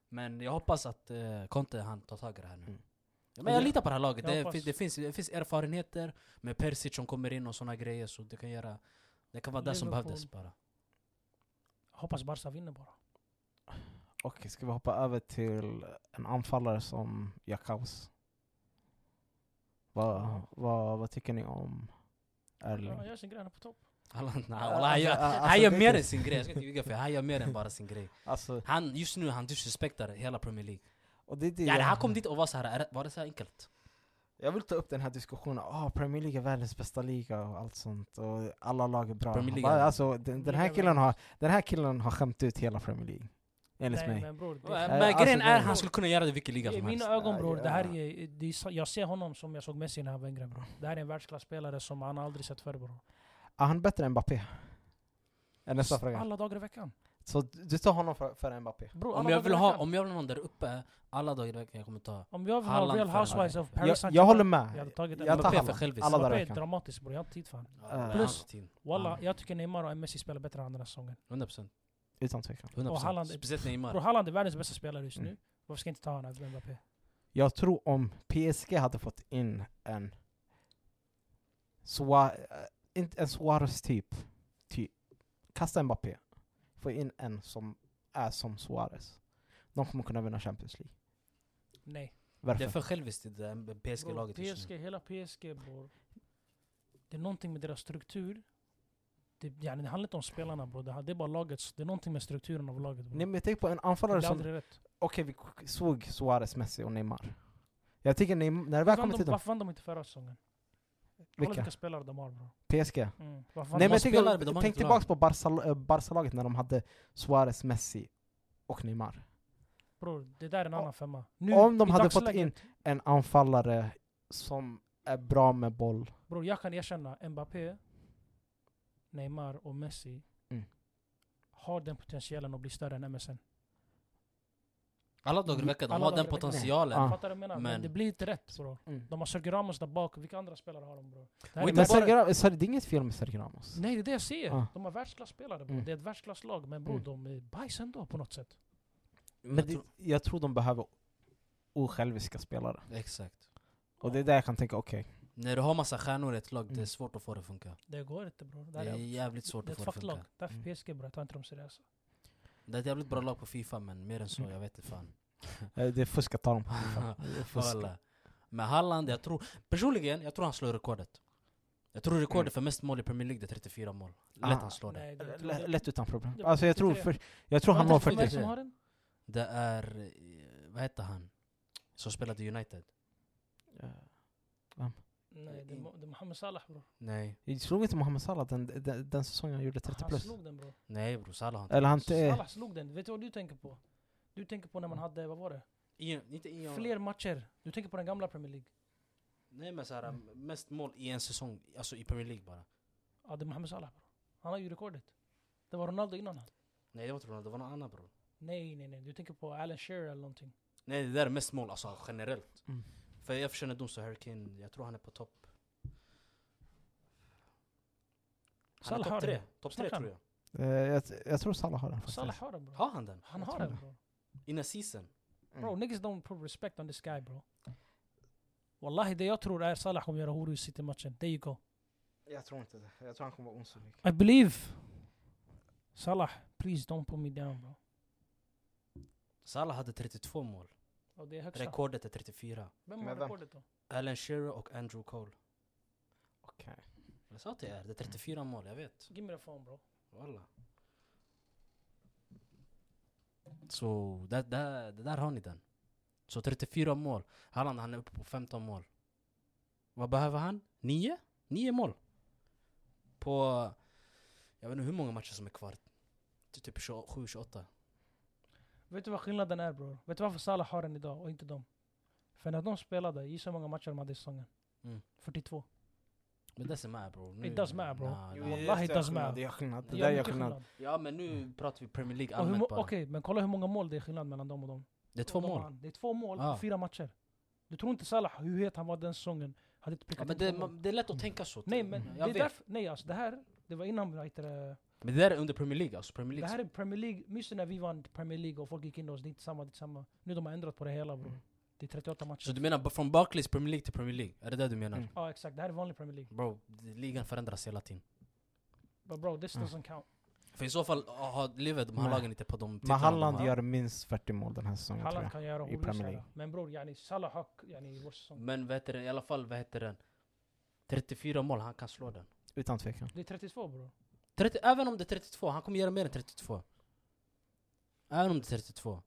Speaker 3: Men jag hoppas att eh, Conte han tar tag i det här nu.
Speaker 2: Mm.
Speaker 3: Ja, Men jag litar på det här laget.
Speaker 1: Jag
Speaker 3: Det,
Speaker 1: hoppas.
Speaker 3: fin- det, finns, det finns erfarenheter med Persic som kommer in och sådana grejer. Så det kan göra... Det kan vara det som
Speaker 1: Liverpool.
Speaker 3: behövdes bara.
Speaker 1: Hoppas Barca vinner bara.
Speaker 2: Okej, ska vi hoppa över till en anfallare som Jakaus? Vad,
Speaker 1: Ja.
Speaker 2: vad, vad tycker ni om Erling?
Speaker 1: Han gör sin grej, han är på topp.
Speaker 3: Han, nej,
Speaker 2: Alltså,
Speaker 3: han gör,
Speaker 2: alltså,
Speaker 3: han gör
Speaker 2: det-
Speaker 3: mer än sin grej. Jag ska inte ljuga för er. Han gör mer än bara sin grej.
Speaker 2: Alltså,
Speaker 3: Han, just nu han disrespektar hela Premier League.
Speaker 2: och det, är det,
Speaker 3: Ja,
Speaker 2: jag-
Speaker 3: han kom dit och var så här, är det- var det så här enkelt?
Speaker 2: Jag vill ta upp den här diskussionen, ah Premier League är världens bästa liga och allt sånt och alla lag är bra.
Speaker 3: Premier
Speaker 2: Han
Speaker 3: League
Speaker 2: bara,
Speaker 3: är-
Speaker 2: alltså, den, den, här
Speaker 1: Liga är
Speaker 2: killen har, den här killen har skämt ut hela Premier League, enligt
Speaker 1: Nej
Speaker 2: mig.
Speaker 1: men bror, det,
Speaker 3: Äh, Men
Speaker 2: Eh, alltså,
Speaker 3: grejen är,
Speaker 2: det-
Speaker 3: han skulle kunna göra det i vilken liga
Speaker 1: i
Speaker 3: som
Speaker 1: mina
Speaker 3: helst.
Speaker 1: ögon
Speaker 2: Ja,
Speaker 1: bror,
Speaker 2: ja.
Speaker 1: det här är, det är, sa- jag ser honom som jag såg Messi när han var yngre bror. Det här är en världsklasspelare som han aldrig sett förr bror.
Speaker 2: Är han bättre än Mbappé? Är nästa
Speaker 3: Alltså,
Speaker 2: fråga.
Speaker 1: Alla dagar i veckan.
Speaker 2: Så du du tar honom före för Mbappé?
Speaker 1: Bror,
Speaker 3: Om
Speaker 1: alla
Speaker 3: jag,
Speaker 1: dagar
Speaker 3: vill
Speaker 1: i
Speaker 3: ha,
Speaker 1: veckan.
Speaker 3: om jag vill ha någon där uppe, alla dagar i veckan jag kommer ta.
Speaker 1: Om jag vill ha
Speaker 3: Haaland
Speaker 1: Real
Speaker 3: för-
Speaker 1: Housewives of
Speaker 2: Jag,
Speaker 1: Paris
Speaker 2: jag håller
Speaker 1: Jag hade
Speaker 2: med.
Speaker 1: tagit
Speaker 2: Jag tar
Speaker 3: Mbappé
Speaker 2: honom.
Speaker 3: för självis.
Speaker 2: Alla dagar i
Speaker 1: Mbappé är
Speaker 2: veckan.
Speaker 1: dramatiskt bror, jag har inte tid för honom.
Speaker 3: Ja, det är
Speaker 1: Plus-
Speaker 3: hans eh, team.
Speaker 1: Walla,
Speaker 3: Ja.
Speaker 1: jag tycker Neymar och Messi spelar bättre än den här säsongen.
Speaker 3: 100%.
Speaker 2: Utan tvekan.
Speaker 3: 100%.
Speaker 1: Och Haaland-
Speaker 3: Speciellt
Speaker 1: Bror,
Speaker 3: Neymar.
Speaker 1: Haaland är världens bästa spelare just
Speaker 2: Mm.
Speaker 1: nu. Varför ska jag inte ta honom över Mbappé?
Speaker 2: Jag tror om PSG hade fått in en Sua, eh, inte en Suarez-typ, ty, kasta Mbappé, få in en som är som Suarez. De kommer kunna vinna Champions League.
Speaker 1: Nej.
Speaker 3: Det är
Speaker 2: Varför?
Speaker 3: för själviskt i det där
Speaker 1: Bror,
Speaker 3: PSG-laget just
Speaker 1: PSG,
Speaker 3: nu.
Speaker 1: hela PSG bror. Det är någonting med deras struktur. Det, yani, det handlar inte om spelarna bror, det, här- det är bara lagets, det är någonting med strukturen av laget bror.
Speaker 2: Nej men jag tänker på en
Speaker 1: det
Speaker 2: anfallare
Speaker 1: blir
Speaker 2: som,
Speaker 1: aldrig rätt.
Speaker 2: okej vi k- såg Suarez, Messi och Neymar. Jag tycker Neymar, när det väl
Speaker 1: Vann
Speaker 2: kommer
Speaker 1: de-
Speaker 2: till dem,
Speaker 1: Varför vann de inte förra säsongen? Kolla
Speaker 2: vilka?
Speaker 1: vilka spelare de har bror.
Speaker 2: PSG?
Speaker 1: Mm. Varför
Speaker 2: Nej
Speaker 1: vann de?
Speaker 2: men
Speaker 3: måste spela, men de
Speaker 2: tänk,
Speaker 3: har
Speaker 2: tänk
Speaker 3: inget lag.
Speaker 2: tillbaks på Barca- eh, Barca-laget när de hade Suarez, Messi och Neymar.
Speaker 1: Bror, det där är en
Speaker 2: Om-
Speaker 1: annan femma. Nu,
Speaker 2: om de
Speaker 1: i
Speaker 2: hade fått
Speaker 1: dagsläget-
Speaker 2: in en anfallare som är bra med boll.
Speaker 1: Bror, jag kan erkänna Mbappé, Neymar och Messi
Speaker 2: Mm.
Speaker 1: har den potentialen att bli större än MSN.
Speaker 3: Alla dagar i veckan, de
Speaker 1: Alla
Speaker 3: har
Speaker 1: dagar
Speaker 3: den
Speaker 1: i veckan.
Speaker 3: potentialen.
Speaker 2: Ja.
Speaker 1: Fattar du vad jag menar? Men
Speaker 3: Men-
Speaker 1: det blir inte rätt bror.
Speaker 2: Mm.
Speaker 1: De har Sergio Ramos där bak, vilka andra spelare har de bror? Det
Speaker 3: Och
Speaker 1: här är
Speaker 3: inte
Speaker 2: Men
Speaker 1: bara-
Speaker 2: Sergio Ramos, sorry, det är inget fel med Sergio Ramos.
Speaker 1: Nej det är det jag ser!
Speaker 2: Ja.
Speaker 1: De har världsklasspelare bror,
Speaker 2: Mm.
Speaker 1: det är ett världsklasslag men bror
Speaker 2: Mm.
Speaker 1: de är bajs ändå på något sätt.
Speaker 2: Men
Speaker 3: Jag
Speaker 2: det,
Speaker 3: tror-
Speaker 2: jag tror de behöver osjälviska spelare.
Speaker 3: Exakt.
Speaker 2: Och det är där jag kan tänka, okej.
Speaker 3: När du har massa stjärnor i ett lag, det är
Speaker 2: Mm.
Speaker 3: svårt att få det att funka.
Speaker 1: Det går inte bror. Det,
Speaker 3: Det
Speaker 1: här
Speaker 3: är
Speaker 1: är,
Speaker 3: jävligt svårt
Speaker 1: det är
Speaker 3: att få
Speaker 1: ett
Speaker 3: det att funka.
Speaker 1: fucktlag. Därför
Speaker 2: Mm.
Speaker 1: PSG bror, jag tar inte dem seriösa.
Speaker 3: Det är ett jävligt bra lag på Fifa, men mer än
Speaker 2: Mm.
Speaker 3: så, jag vet inte fan.
Speaker 2: eh, Det är fusk att ta dem på FIFA. Det är fusk.
Speaker 3: Alla. Men Halland, jag tror... Personligen, jag tror han slår rekordet. Jag tror rekordet för mest mål i Premier League, det är 34 mål. Lätt
Speaker 2: Ah.
Speaker 3: han slår det.
Speaker 1: Mm. Nej,
Speaker 2: L-
Speaker 1: det, jag tror det-
Speaker 2: Lätt utan problem.
Speaker 1: Ja,
Speaker 2: Alltså jag tror,
Speaker 1: 33.
Speaker 2: för, jag tror han når
Speaker 1: Vem är det
Speaker 2: 40.
Speaker 1: som har den?
Speaker 3: Det är... eh, Vad heter han? Som spelade i United?
Speaker 1: Nej, det är
Speaker 3: Mm.
Speaker 1: Mo- det är Mohamed Salah bror.
Speaker 3: Nej.
Speaker 2: Jag slog inte Mohamed Salah den, den, den säsongen han gjorde 30
Speaker 1: Han
Speaker 2: plus.
Speaker 1: slog den bror.
Speaker 3: Nej bror, Salah har inte...
Speaker 2: Eller han... eh,
Speaker 1: Salah slog den. Vet du vad du tänker på? Du tänker på när
Speaker 2: Mm.
Speaker 1: man hade, vad var det?
Speaker 3: Ian, inte Ian.
Speaker 1: Fler matcher. Du tänker på den gamla Premier League.
Speaker 3: Nej men såhär, mest mål i en säsong, alltså i Premier League bara.
Speaker 1: Ja, det är Mohamed Salah bror. Han har ju rekordet. Det var Ronaldo innan han.
Speaker 3: Nej det var inte Ronaldo, det var någon annan bror.
Speaker 1: Nej, nej, nej. Du tänker på Alan Shearer eller någonting.
Speaker 3: Nej det där är mest mål, alltså generellt.
Speaker 2: Mm.
Speaker 3: För jag förtjänar dom så Harry Kane, jag tror han är på topp... Han är
Speaker 1: Salah har
Speaker 3: topp tre,
Speaker 1: den.
Speaker 3: topp tre
Speaker 1: Snackar han?
Speaker 3: tror jag.
Speaker 2: eh, jag, jag tror Salah har den faktiskt.
Speaker 1: Salah har den bror.
Speaker 3: Har han den?
Speaker 1: Han
Speaker 2: Jag
Speaker 1: har
Speaker 2: tror
Speaker 1: den
Speaker 2: det.
Speaker 1: bror.
Speaker 3: Innan season?
Speaker 2: Mm.
Speaker 1: Bro, niggas don't put respect on this guy bro. Wallahi det jag tror är Salah kommer göra horor i City-matchen. There you go.
Speaker 2: Jag tror inte det. Jag tror han kommer vara osynlig.
Speaker 1: I believe! Salah, please don't put me down bro.
Speaker 3: Salah hade 32 mål.
Speaker 1: Och det är högsta.
Speaker 3: Rekordet är 34.
Speaker 1: Vem har
Speaker 2: Med vem?
Speaker 1: rekordet då?
Speaker 3: Alan Shearer och Andrew Cole.
Speaker 2: Okej.
Speaker 3: Jag sa till er, det är 34 mål, jag vet.
Speaker 1: Give me the phone bro.
Speaker 3: Walla. Så där, där, det där har ni den. Så 34 mål. Haaland han är uppe på 15 mål. Vad behöver han? 9? 9 mål. På, jag vet inte hur många matcher som är kvar. Ty- Typ 27-28.
Speaker 1: Vet du vad skillnaden är bror? Vet du varför Salah har den idag och inte dem? För när de spelade, gissa hur många matcher de hade i säsongen?
Speaker 3: Mm.
Speaker 1: 42.
Speaker 3: Men det doesn't matter bro. Nu,
Speaker 1: It does matter, bro.
Speaker 3: Nah,
Speaker 2: Jo,
Speaker 3: nah.
Speaker 2: det
Speaker 1: Wallahi,
Speaker 2: gör
Speaker 1: doesn't
Speaker 2: skillnad,
Speaker 1: matter.
Speaker 2: Det gör skillnad. Det
Speaker 1: gör
Speaker 2: där gör
Speaker 1: mycket
Speaker 2: skillnad.
Speaker 3: Ja men nu pratar vi Premier League
Speaker 1: Och hur
Speaker 3: allmänt
Speaker 1: mo-
Speaker 3: bara.
Speaker 1: Okej, men kolla hur många mål det är skillnad mellan dem och dem.
Speaker 3: Det är två
Speaker 1: Och de
Speaker 3: mål.
Speaker 1: vann. Det är två mål
Speaker 3: Ah.
Speaker 1: på fyra matcher. Du tror inte Salah, hur het han var den säsongen, hade inte
Speaker 3: Ja,
Speaker 1: prickat
Speaker 3: men
Speaker 1: in
Speaker 3: det,
Speaker 1: två mål.
Speaker 3: man- det är lätt att tänka så. typ.
Speaker 1: Nej men det
Speaker 3: Mm, jag
Speaker 1: är
Speaker 3: vet.
Speaker 1: därför, nej alltså det här, det var innan vad heter det,
Speaker 3: Men det där är under Premier League alltså. Premier
Speaker 1: det
Speaker 3: League.
Speaker 1: här är Premier League, minns du när vi vann Premier League och folk gick in och oss, det är inte samma, det är inte samma. Nu de har ändrat på det hela bror. Det är 38 matcher.
Speaker 3: Så du menar b- från Barclays Premier League till Premier League? Är det det du menar?
Speaker 2: Mm.
Speaker 1: Ja exakt, det här är vanlig Premier League.
Speaker 3: Bro, d- ligan förändras hela tiden.
Speaker 1: But bro, this
Speaker 2: Mm.
Speaker 1: doesn't count.
Speaker 3: För i så fall ah, har lever de här
Speaker 2: Nej.
Speaker 3: lagen inte på de
Speaker 2: Men Halland
Speaker 3: de har.
Speaker 2: gör minst 40 mål den här säsongen tror
Speaker 1: Halland
Speaker 2: jag.
Speaker 1: kan göra
Speaker 2: i Premier
Speaker 1: olösliga.
Speaker 2: League.
Speaker 1: Men bror, yani Salah har yani, vår säsong.
Speaker 3: Men vad heter den? I alla fall, vad heter den? 34 mål, han kan slå den.
Speaker 2: Utan tvekan.
Speaker 1: Det är 32 bror.
Speaker 3: 30, även om det är 32, han kommer göra mer än 32. Även om det är 32.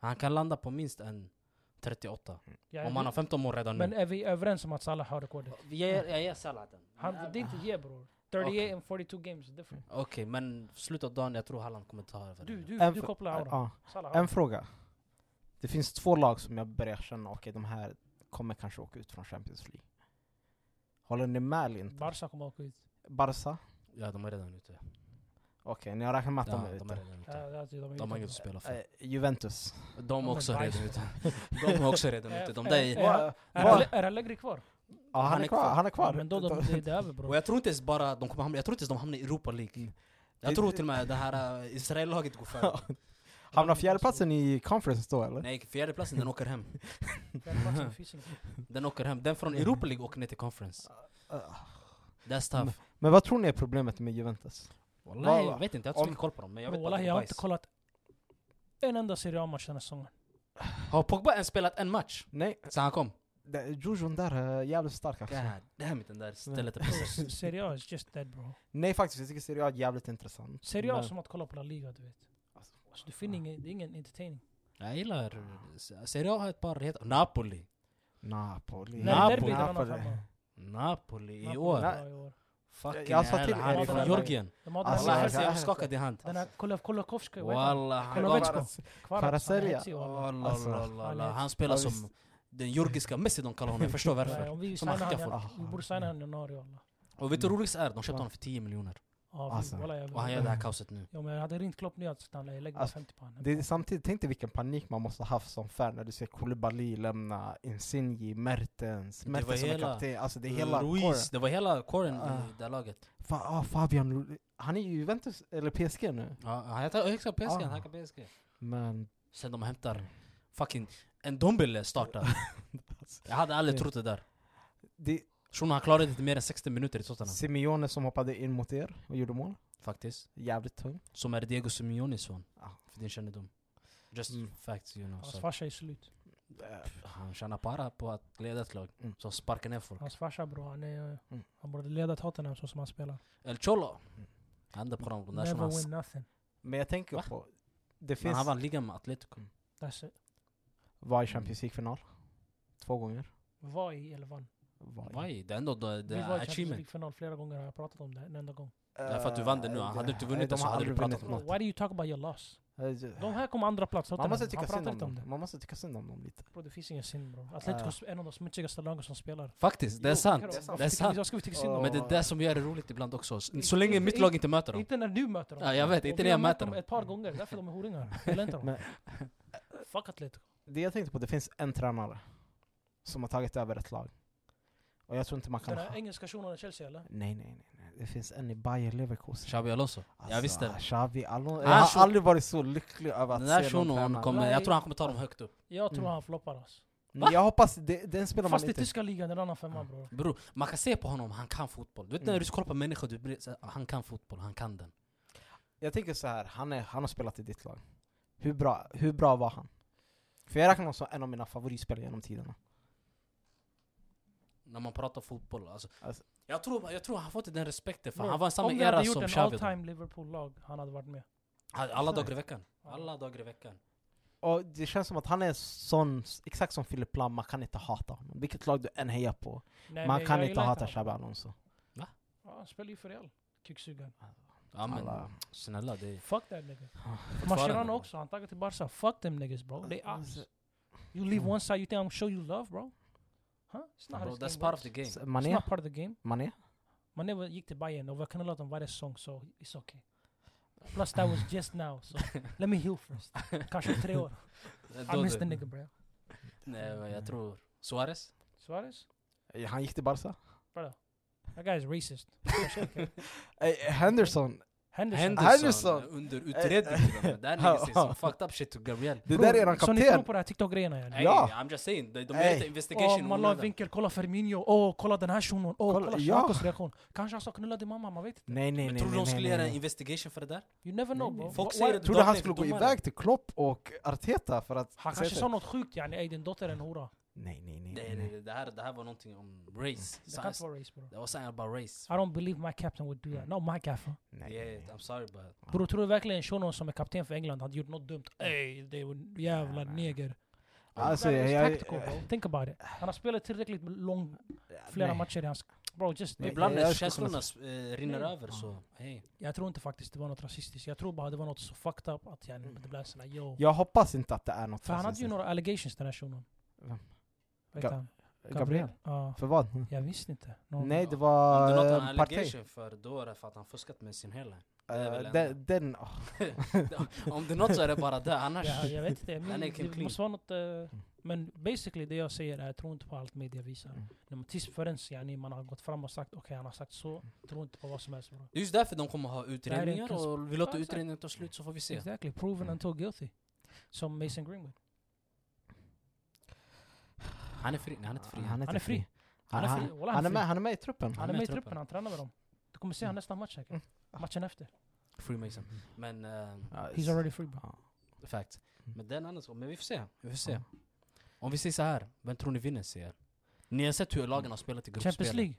Speaker 3: Han kan landa på minst en 38.
Speaker 1: Yani,
Speaker 3: Om han har 15 mål redan
Speaker 1: men
Speaker 3: nu.
Speaker 1: är vi överens om att Salah har rekordet?
Speaker 3: Vi ger- Jag ger Salah den.
Speaker 1: Han,
Speaker 3: Men även-
Speaker 1: det är inte ge bror. 38
Speaker 3: Okej.
Speaker 1: and 42 games is different.
Speaker 3: Okej, men slutet av dagen, jag tror Halland kommer ta över.
Speaker 1: Du,
Speaker 3: den.
Speaker 1: du,
Speaker 2: En
Speaker 1: du
Speaker 2: fr-
Speaker 1: kopplar auran.
Speaker 2: Ja.
Speaker 1: Salah har
Speaker 2: En fråga. Det finns två lag som jag börjar känna, okej de här kommer kanske åka ut från Champions League. Håller ni med eller
Speaker 1: det.
Speaker 2: inte?
Speaker 1: Barca kommer åka ut.
Speaker 2: Barca?
Speaker 3: Ja, de är redan ute.
Speaker 2: Okej, ni har räknat med att
Speaker 3: Ja,
Speaker 2: de är
Speaker 3: de är
Speaker 2: ute.
Speaker 3: redan
Speaker 1: Ja,
Speaker 3: ute.
Speaker 1: alltså, de är
Speaker 3: De har
Speaker 1: inte
Speaker 3: inget att spela
Speaker 1: bra.
Speaker 3: för.
Speaker 2: Eh, Juventus.
Speaker 3: De är
Speaker 1: men
Speaker 3: också
Speaker 1: bajs.
Speaker 3: redan ute. De är också redan ute. De där är...
Speaker 1: Ja,
Speaker 2: Va-
Speaker 1: Är
Speaker 2: va-
Speaker 1: Alle- Är Allegri kvar?
Speaker 2: Ja, han,
Speaker 3: han
Speaker 2: är
Speaker 3: är
Speaker 2: kvar.
Speaker 3: kvar.
Speaker 2: Han är kvar.
Speaker 1: Ja, men då de, det, det är över
Speaker 3: Och
Speaker 1: bror.
Speaker 3: jag tror inte ens bara de kommer hamna, jag tror inte ens de hamnar i Europa League.
Speaker 2: Det-
Speaker 3: Jag tror till och med det här äh, Israel-laget går före.
Speaker 2: Hamnar fjärdeplatsen i conference då eller?
Speaker 3: Nej, fjärdeplatsen den åker hem.
Speaker 1: Den matchen finns inte.
Speaker 3: Den åker hem. Den från Europa League åker ner till conference.
Speaker 1: Ah,
Speaker 2: Eh,
Speaker 3: That's tough.
Speaker 2: Men vad tror ni är problemet med Juventus?
Speaker 3: Wallahi,
Speaker 2: Walla.
Speaker 3: jag vet inte, jag har inte så
Speaker 2: Om-
Speaker 3: mycket koll på dem. Men jag vet bara
Speaker 1: Wallahi,
Speaker 3: att de
Speaker 1: jag
Speaker 3: är
Speaker 1: har inte
Speaker 3: bajs.
Speaker 1: kollat en enda Serie A-match den här säsongen.
Speaker 3: Har Pogba ens spelat en match
Speaker 2: Nej,
Speaker 3: sen han kom?
Speaker 2: det- Jojon där är jävligt stark
Speaker 3: God
Speaker 2: alltså.
Speaker 3: damn it, den där stället är precis.
Speaker 1: Alltså, Serie A is just dead bro.
Speaker 2: Nej faktiskt, jag tycker Serie A är jävligt intressant.
Speaker 1: Serie A är
Speaker 2: Men-
Speaker 1: som att kolla på La Liga du vet.
Speaker 2: Alltså,
Speaker 1: Alltså, du finner ingen, det är ingen entertaining.
Speaker 3: Jag gillar... Serie A har ett par heta... Napoli.
Speaker 2: Napoli.
Speaker 1: När
Speaker 3: Napoli.
Speaker 1: derbyt är de
Speaker 2: Napoli.
Speaker 1: femma.
Speaker 3: Napoli i
Speaker 1: Napoli
Speaker 3: år.
Speaker 1: var i år.
Speaker 3: Fucking
Speaker 2: Jag sa till
Speaker 3: hell, han
Speaker 1: er
Speaker 3: är
Speaker 1: i
Speaker 3: från
Speaker 1: förväg.
Speaker 3: Georgien.
Speaker 1: De har
Speaker 2: Alltså,
Speaker 3: Alltså,
Speaker 1: den
Speaker 2: jag-
Speaker 1: här,
Speaker 3: här ser jag skakad i hand.
Speaker 1: den här kolla, kolla Kovska, vad heter han?
Speaker 3: Walla, han
Speaker 1: Kolla
Speaker 3: gav...
Speaker 1: Vetsko. Kvarat, han är
Speaker 2: Kvaratskhelia.
Speaker 1: hetsig, walla.
Speaker 3: Alla,
Speaker 2: Alltså,
Speaker 3: alla, alla,
Speaker 1: han
Speaker 3: alla.
Speaker 1: är-
Speaker 3: Han spelar
Speaker 2: Ja,
Speaker 3: som den georgiska Messi de kallar honom, jag förstår
Speaker 1: Nej,
Speaker 3: varför.
Speaker 1: Om
Speaker 3: Som
Speaker 1: vi signar
Speaker 3: han skickar
Speaker 1: han,
Speaker 2: folk.
Speaker 1: vi borde signa honom i januari walla.
Speaker 3: Och vet du hur roligt det är? De köpte honom för 10 miljoner.
Speaker 1: Ja, vi-
Speaker 2: Alltså,
Speaker 1: walla, jag-
Speaker 3: Och han gör det här kaoset nu.
Speaker 1: Ja, men jag hade ringt Klopp nu att han lägger bara
Speaker 2: Alltså,
Speaker 1: 50 på honom.
Speaker 2: Det är, samtidigt, tänk dig vilken panik man måste haft som fan när du ser Koulibaly lämna Insigne, Mertens,
Speaker 3: Det
Speaker 2: Mertens
Speaker 3: var
Speaker 2: som är
Speaker 3: hela-
Speaker 2: kapten, alltså det är hela kåren.
Speaker 3: Ruiz, det var hela kåren
Speaker 2: Ah.
Speaker 3: i det här laget.
Speaker 2: Fa, ah, Fabian, Ru- han är ju Juventus, eller PSG nu.
Speaker 3: Ja, han heter högsta PSG,
Speaker 2: Ah.
Speaker 3: han hackar PSG.
Speaker 2: Men
Speaker 3: Sen de hämtar fucking en Dombele startar. Jag hade aldrig trott det där.
Speaker 2: det
Speaker 3: Shunon han klarade inte mer än 60 minuter i
Speaker 2: är
Speaker 3: Tottenham.
Speaker 2: Simeone som hoppade in mot er och gjorde mål.
Speaker 3: Faktiskt.
Speaker 2: Jävligt tung.
Speaker 3: Som är Diego Simeones son.
Speaker 2: Ah.
Speaker 3: För din kännedom. Just
Speaker 2: Mm.
Speaker 3: facts you know.
Speaker 1: Hans
Speaker 3: Så
Speaker 1: farsa är slut.
Speaker 2: Eh,
Speaker 3: han tjänar para på att leda ett lag.
Speaker 2: Mm.
Speaker 3: Som sparkar ner folk.
Speaker 1: Hans farsa bror, han, är, eh,
Speaker 2: Mm.
Speaker 1: han borde leda Tottenham så som han spelar.
Speaker 3: El Cholo. Han är på dem, de där som
Speaker 1: Never
Speaker 3: han
Speaker 1: win nothing.
Speaker 2: Men jag tänker
Speaker 3: Va?
Speaker 2: på, det
Speaker 3: Men han
Speaker 2: finns,
Speaker 3: vann ligan med Atletico.
Speaker 1: That's it.
Speaker 2: var i Champions League-final. Två gånger.
Speaker 1: Var i eller vann.
Speaker 2: Var i.
Speaker 3: Vaj, det är ändå det, det
Speaker 1: Vi var i
Speaker 3: är
Speaker 1: Champions
Speaker 3: achievement.
Speaker 1: League-final flera gånger, har jag pratat om det en enda gång.
Speaker 3: Därför att du vann det nu.
Speaker 2: Eh,
Speaker 3: Hade du inte vunnit
Speaker 2: nej,
Speaker 3: det
Speaker 2: de
Speaker 3: så
Speaker 2: har
Speaker 3: hade du
Speaker 2: aldrig
Speaker 3: pratat
Speaker 2: vunnit
Speaker 3: om
Speaker 1: Bro,
Speaker 2: något.
Speaker 1: why do you talk about your loss?
Speaker 2: Eh,
Speaker 1: De här kommer andra plats
Speaker 2: Man
Speaker 1: Tottenham.
Speaker 2: måste
Speaker 1: Han
Speaker 2: tycka
Speaker 1: pratar
Speaker 2: synd om
Speaker 1: inte om det.
Speaker 2: dem. Man måste tycka synd om dem lite.
Speaker 1: Bro, det finns ingen synd bror. Atletico är en av de smutsigaste lagen som spelar.
Speaker 3: Faktiskt, det är
Speaker 1: Jo,
Speaker 3: sant.
Speaker 1: kan
Speaker 2: Det är sant.
Speaker 3: Det är sant.
Speaker 1: Jag ska vi tycka synd om
Speaker 2: Ja.
Speaker 3: Men det är det som gör det roligt ibland också. S- Så länge mitt lag inte möter
Speaker 1: dem?
Speaker 3: dem.
Speaker 1: Inte när du möter dem.
Speaker 3: Ja, jag vet,
Speaker 1: Och
Speaker 3: inte
Speaker 1: vi
Speaker 3: när jag
Speaker 1: har mött
Speaker 3: möter dem.
Speaker 1: ett par gånger, därför de är horingar. Jag gillar inte dem.
Speaker 2: Men-
Speaker 1: Fuck Atletico.
Speaker 2: Det jag tänkte på, det finns en tränare som har tagit över ett lag. Och jag tror inte man kan...
Speaker 1: Den
Speaker 2: Ha...
Speaker 1: här engelska shunon i Chelsea eller?
Speaker 2: Nej, nej, nej, nej. Det finns en i Bayer Leverkusen. Alltså,
Speaker 3: Xabi Alonso. jag visste det.
Speaker 2: Xavi Alonso. Jag
Speaker 3: Ah,
Speaker 2: har
Speaker 3: shu-
Speaker 2: aldrig varit så lycklig över att
Speaker 3: Den där
Speaker 2: se någon
Speaker 3: shunon
Speaker 2: tränare.
Speaker 3: kommer, jag tror han kommer ta dem högt upp.
Speaker 1: Jag tror
Speaker 2: Mm.
Speaker 1: han floppar alltså.
Speaker 2: Men jag hoppas, det, den spelar man
Speaker 1: Fast i
Speaker 2: inte...
Speaker 1: tyska ligan, det är en annan femma
Speaker 2: Ja.
Speaker 1: bror.
Speaker 3: Bror, man kan se på honom, han kan fotboll. Du vet
Speaker 2: Mm.
Speaker 3: när du kollar på människor, du blir, så här, han kan fotboll, han kan den.
Speaker 2: Jag tänker så här, han, är, han har spelat i ditt lag. Hur bra, hur bra var han? För jag räknar honom som en av mina favoritspelare genom tiderna.
Speaker 3: När man pratar fotboll alltså.
Speaker 2: Alltså.
Speaker 3: Jag, tror, jag tror han fått den respekten för
Speaker 1: Bro,
Speaker 3: han var i samma
Speaker 1: Om vi hade
Speaker 3: era
Speaker 1: gjort
Speaker 3: som
Speaker 1: en all
Speaker 3: Xavi. då.
Speaker 1: time Liverpool-lag, han hade varit med.
Speaker 3: Han- Alla dagar i
Speaker 2: Exakt.
Speaker 3: veckan. Alla dagar i veckan.
Speaker 2: Och det känns som att han är sån, exakt som Filip Lam, man kan inte hata honom. Vilket lag du än hejar på,
Speaker 1: Nej,
Speaker 2: man
Speaker 1: men
Speaker 2: kan
Speaker 1: jag
Speaker 2: inte
Speaker 1: gillar
Speaker 2: hata
Speaker 1: honom.
Speaker 2: Xabi Alonso.
Speaker 1: Ja, Han spelar ju för Real. Kuksugaren.
Speaker 3: Ja, men,
Speaker 2: Alla-
Speaker 3: snälla det är
Speaker 1: Fuck that nigga.
Speaker 2: Ah,
Speaker 3: fortfarande- Alltså,
Speaker 1: Mascherano också, han taggade till Barca. Fuck them niggas bro. They ass. You leave
Speaker 2: Mm.
Speaker 1: one side, you think I'm gonna show you love bro? Huh? It's not how
Speaker 3: Bro,
Speaker 1: this
Speaker 3: that's
Speaker 1: game
Speaker 3: part
Speaker 1: works.
Speaker 3: of the game.
Speaker 2: S-
Speaker 1: It's
Speaker 2: Mané?
Speaker 1: not part of the game.
Speaker 2: Mané?
Speaker 1: Mané var- gick till Bayern och vi har knullat dem varje säsong så it's okay. Plus that was just now, so let me heal first. Kanske tre år. I
Speaker 3: Då
Speaker 1: miss
Speaker 3: du.
Speaker 1: the nigga bro.
Speaker 3: Nej, men jag tror... Suarez?
Speaker 1: Suarez?
Speaker 2: Eh, Han gick till Barca?
Speaker 1: That guy is racist.
Speaker 2: Eh, Henderson!
Speaker 1: Henderson.
Speaker 3: Henderson,
Speaker 2: Henderson. Eh,
Speaker 3: under utredning till och med. Det här niggas är som fucked up shit to Gabriel.
Speaker 2: Det där är
Speaker 1: Bror,
Speaker 2: eran
Speaker 1: Så ni tror
Speaker 2: kapten!
Speaker 1: på den här TikTok-grejerna yani?
Speaker 3: Ey,
Speaker 2: Ja.
Speaker 3: I'm just saying, de, de
Speaker 2: Ey.
Speaker 3: gör inte
Speaker 1: Åh,
Speaker 3: investigation
Speaker 1: man la en
Speaker 3: onödan.
Speaker 1: vinkel, kolla Firmino, åh, kolla den här shunon, åh,
Speaker 2: Kolla-
Speaker 1: kolla
Speaker 2: ja.
Speaker 1: Shakos reaktion. Kanske han sa knulla din mamma, man vet inte.
Speaker 2: Nej nej
Speaker 3: Men
Speaker 2: nej
Speaker 3: tror du de
Speaker 2: nej
Speaker 3: skulle
Speaker 2: nej.
Speaker 3: göra en
Speaker 2: nej.
Speaker 3: investigation för det där?
Speaker 1: You never know
Speaker 2: Nej,
Speaker 1: bro.
Speaker 2: nej.
Speaker 3: Folk
Speaker 1: Wha-
Speaker 3: säger
Speaker 1: why-
Speaker 3: det-
Speaker 2: Tror du han
Speaker 3: Dagligen
Speaker 2: skulle gå
Speaker 3: domare.
Speaker 2: iväg till Klopp och Arteta för att...
Speaker 1: Han kanske sa något sjukt yani, ey din dotter är en hora.
Speaker 2: Nej nej nej.
Speaker 3: Nej,
Speaker 2: nej,
Speaker 3: nej,
Speaker 2: nej.
Speaker 3: nej. Det, här, det här var någonting om race.
Speaker 1: Det kan inte
Speaker 3: Science.
Speaker 1: vara race bro.
Speaker 3: Det var something about race.
Speaker 1: I don't believe my captain would do that. Not my gaffer.
Speaker 2: nej, nej,
Speaker 3: Yeah,
Speaker 2: nej.
Speaker 3: I'm sorry but...
Speaker 1: Bror tror du verkligen shunon som är kapten för England hade gjort något dumt? Ey, det är
Speaker 2: Nej,
Speaker 1: jävla
Speaker 2: nej.
Speaker 1: neger.
Speaker 2: Alltså,
Speaker 1: That is
Speaker 2: jag-
Speaker 1: tactical, bro. Think about it. Han har spelat tillräckligt lång, flera
Speaker 2: Nej.
Speaker 1: matcher i hans... Bro, just...
Speaker 2: Nej,
Speaker 3: Ibland
Speaker 2: jag-
Speaker 3: när
Speaker 2: jag skulle
Speaker 3: känslorna
Speaker 2: kunna-
Speaker 3: eh, rinner
Speaker 1: Nej.
Speaker 3: över
Speaker 2: Mm.
Speaker 3: så, hej.
Speaker 1: Jag tror inte faktiskt det var något rasistiskt. Jag tror bara det var något så fucked up att yani,
Speaker 2: Mm.
Speaker 1: det blev sån här yo.
Speaker 2: Jag hoppas inte att det är något
Speaker 1: För han hade ju
Speaker 2: rasistiskt.
Speaker 1: några allegations den här shunon.
Speaker 2: Vem?
Speaker 1: Vad
Speaker 2: Ga-
Speaker 1: heter han?
Speaker 2: Gabriel?
Speaker 1: Ja.
Speaker 2: För vad?
Speaker 1: Jag visste inte. Någon-
Speaker 2: Nej det
Speaker 3: Om
Speaker 2: var
Speaker 3: det är något
Speaker 2: eh,
Speaker 3: han har
Speaker 2: Partey.
Speaker 3: allegation för, då är det för att han fuskat med sin hela. det är väl
Speaker 2: Eh,
Speaker 3: ändå-
Speaker 2: Den... den åh.
Speaker 3: Om det är något så är det bara det, annars...
Speaker 1: Ja, jag vet inte. Men
Speaker 3: Han är
Speaker 1: det
Speaker 3: clean.
Speaker 1: måste vara något... eh, men basically det jag säger är, jag tror inte på allt media visar.
Speaker 2: Mm.
Speaker 1: När man, tills förrän yani, man har gått fram och sagt okej han har sagt så,
Speaker 2: Mm.
Speaker 1: tror inte på vad som helst. Bro.
Speaker 3: Det är just därför de kommer ha
Speaker 1: Det här är en
Speaker 3: utredningar
Speaker 1: kunskap.
Speaker 3: och vi
Speaker 1: Ja,
Speaker 3: låter
Speaker 1: exakt.
Speaker 3: utredningen ta slut så får vi se.
Speaker 1: Exactly, proven
Speaker 2: Mm.
Speaker 1: until guilty. Som Mason Greenwood.
Speaker 3: Han är fri, nej han är inte fri.
Speaker 2: Han är, inte
Speaker 1: Han är fri.
Speaker 2: Han, han,
Speaker 1: Han är fri. Wallah, han är
Speaker 2: med,
Speaker 1: fri.
Speaker 2: han är med i truppen.
Speaker 1: Han är med i truppen, han tränar med dem. Du kommer se han nästa match säkert.
Speaker 2: Mm.
Speaker 1: Matchen efter.
Speaker 3: Freemason. Men, uh,
Speaker 2: Ja,
Speaker 1: liksom. He's already free bro.
Speaker 2: Ja.
Speaker 3: fact. Men den andra, men vi får se. Vi får se.
Speaker 2: Mm. Ja.
Speaker 3: Om vi säger så här, vem tror ni vinner CL? Ni har sett hur
Speaker 2: Mm.
Speaker 3: lagen har spelat i gruppspelet.
Speaker 1: Champions League.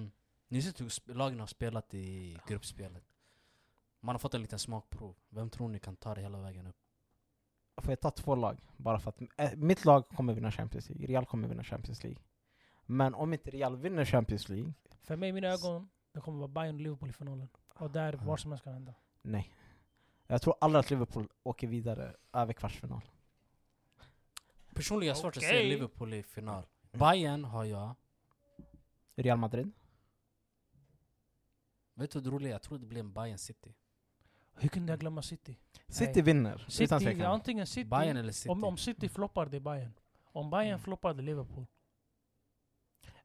Speaker 3: Mm. Ni har sett hur sp- lagen har spelat i gruppspelet. Man har fått en liten smakprov. Vem tror ni kan ta det hela vägen upp?
Speaker 2: Får jag ta två lag? Bara för att eh, mitt lag kommer vinna Champions League. Real kommer vinna Champions League. Men om inte Real vinner Champions League,
Speaker 1: För mig i mina ögon, det kommer vara Bayern och Liverpool i finalen. Och där,
Speaker 2: Mm.
Speaker 1: vad som helst kan hända.
Speaker 2: nej. Jag tror aldrig att Liverpool åker vidare över kvartsfinal.
Speaker 3: Personligen har jag svårt att
Speaker 1: Okej.
Speaker 3: se Liverpool i final. Bayern har jag.
Speaker 2: Real Madrid?
Speaker 3: Vet du vad det roliga är? Jag tror det blir en Bayern City.
Speaker 1: Hur kunde jag glömma City?
Speaker 2: City
Speaker 1: Nej.
Speaker 2: vinner, utan
Speaker 1: City,
Speaker 2: tvekan.
Speaker 1: antingen City,
Speaker 3: Bayern eller City?
Speaker 1: Om, om City floppar, det är Bayern. Om Bayern
Speaker 2: Mm.
Speaker 1: floppar, det är Liverpool.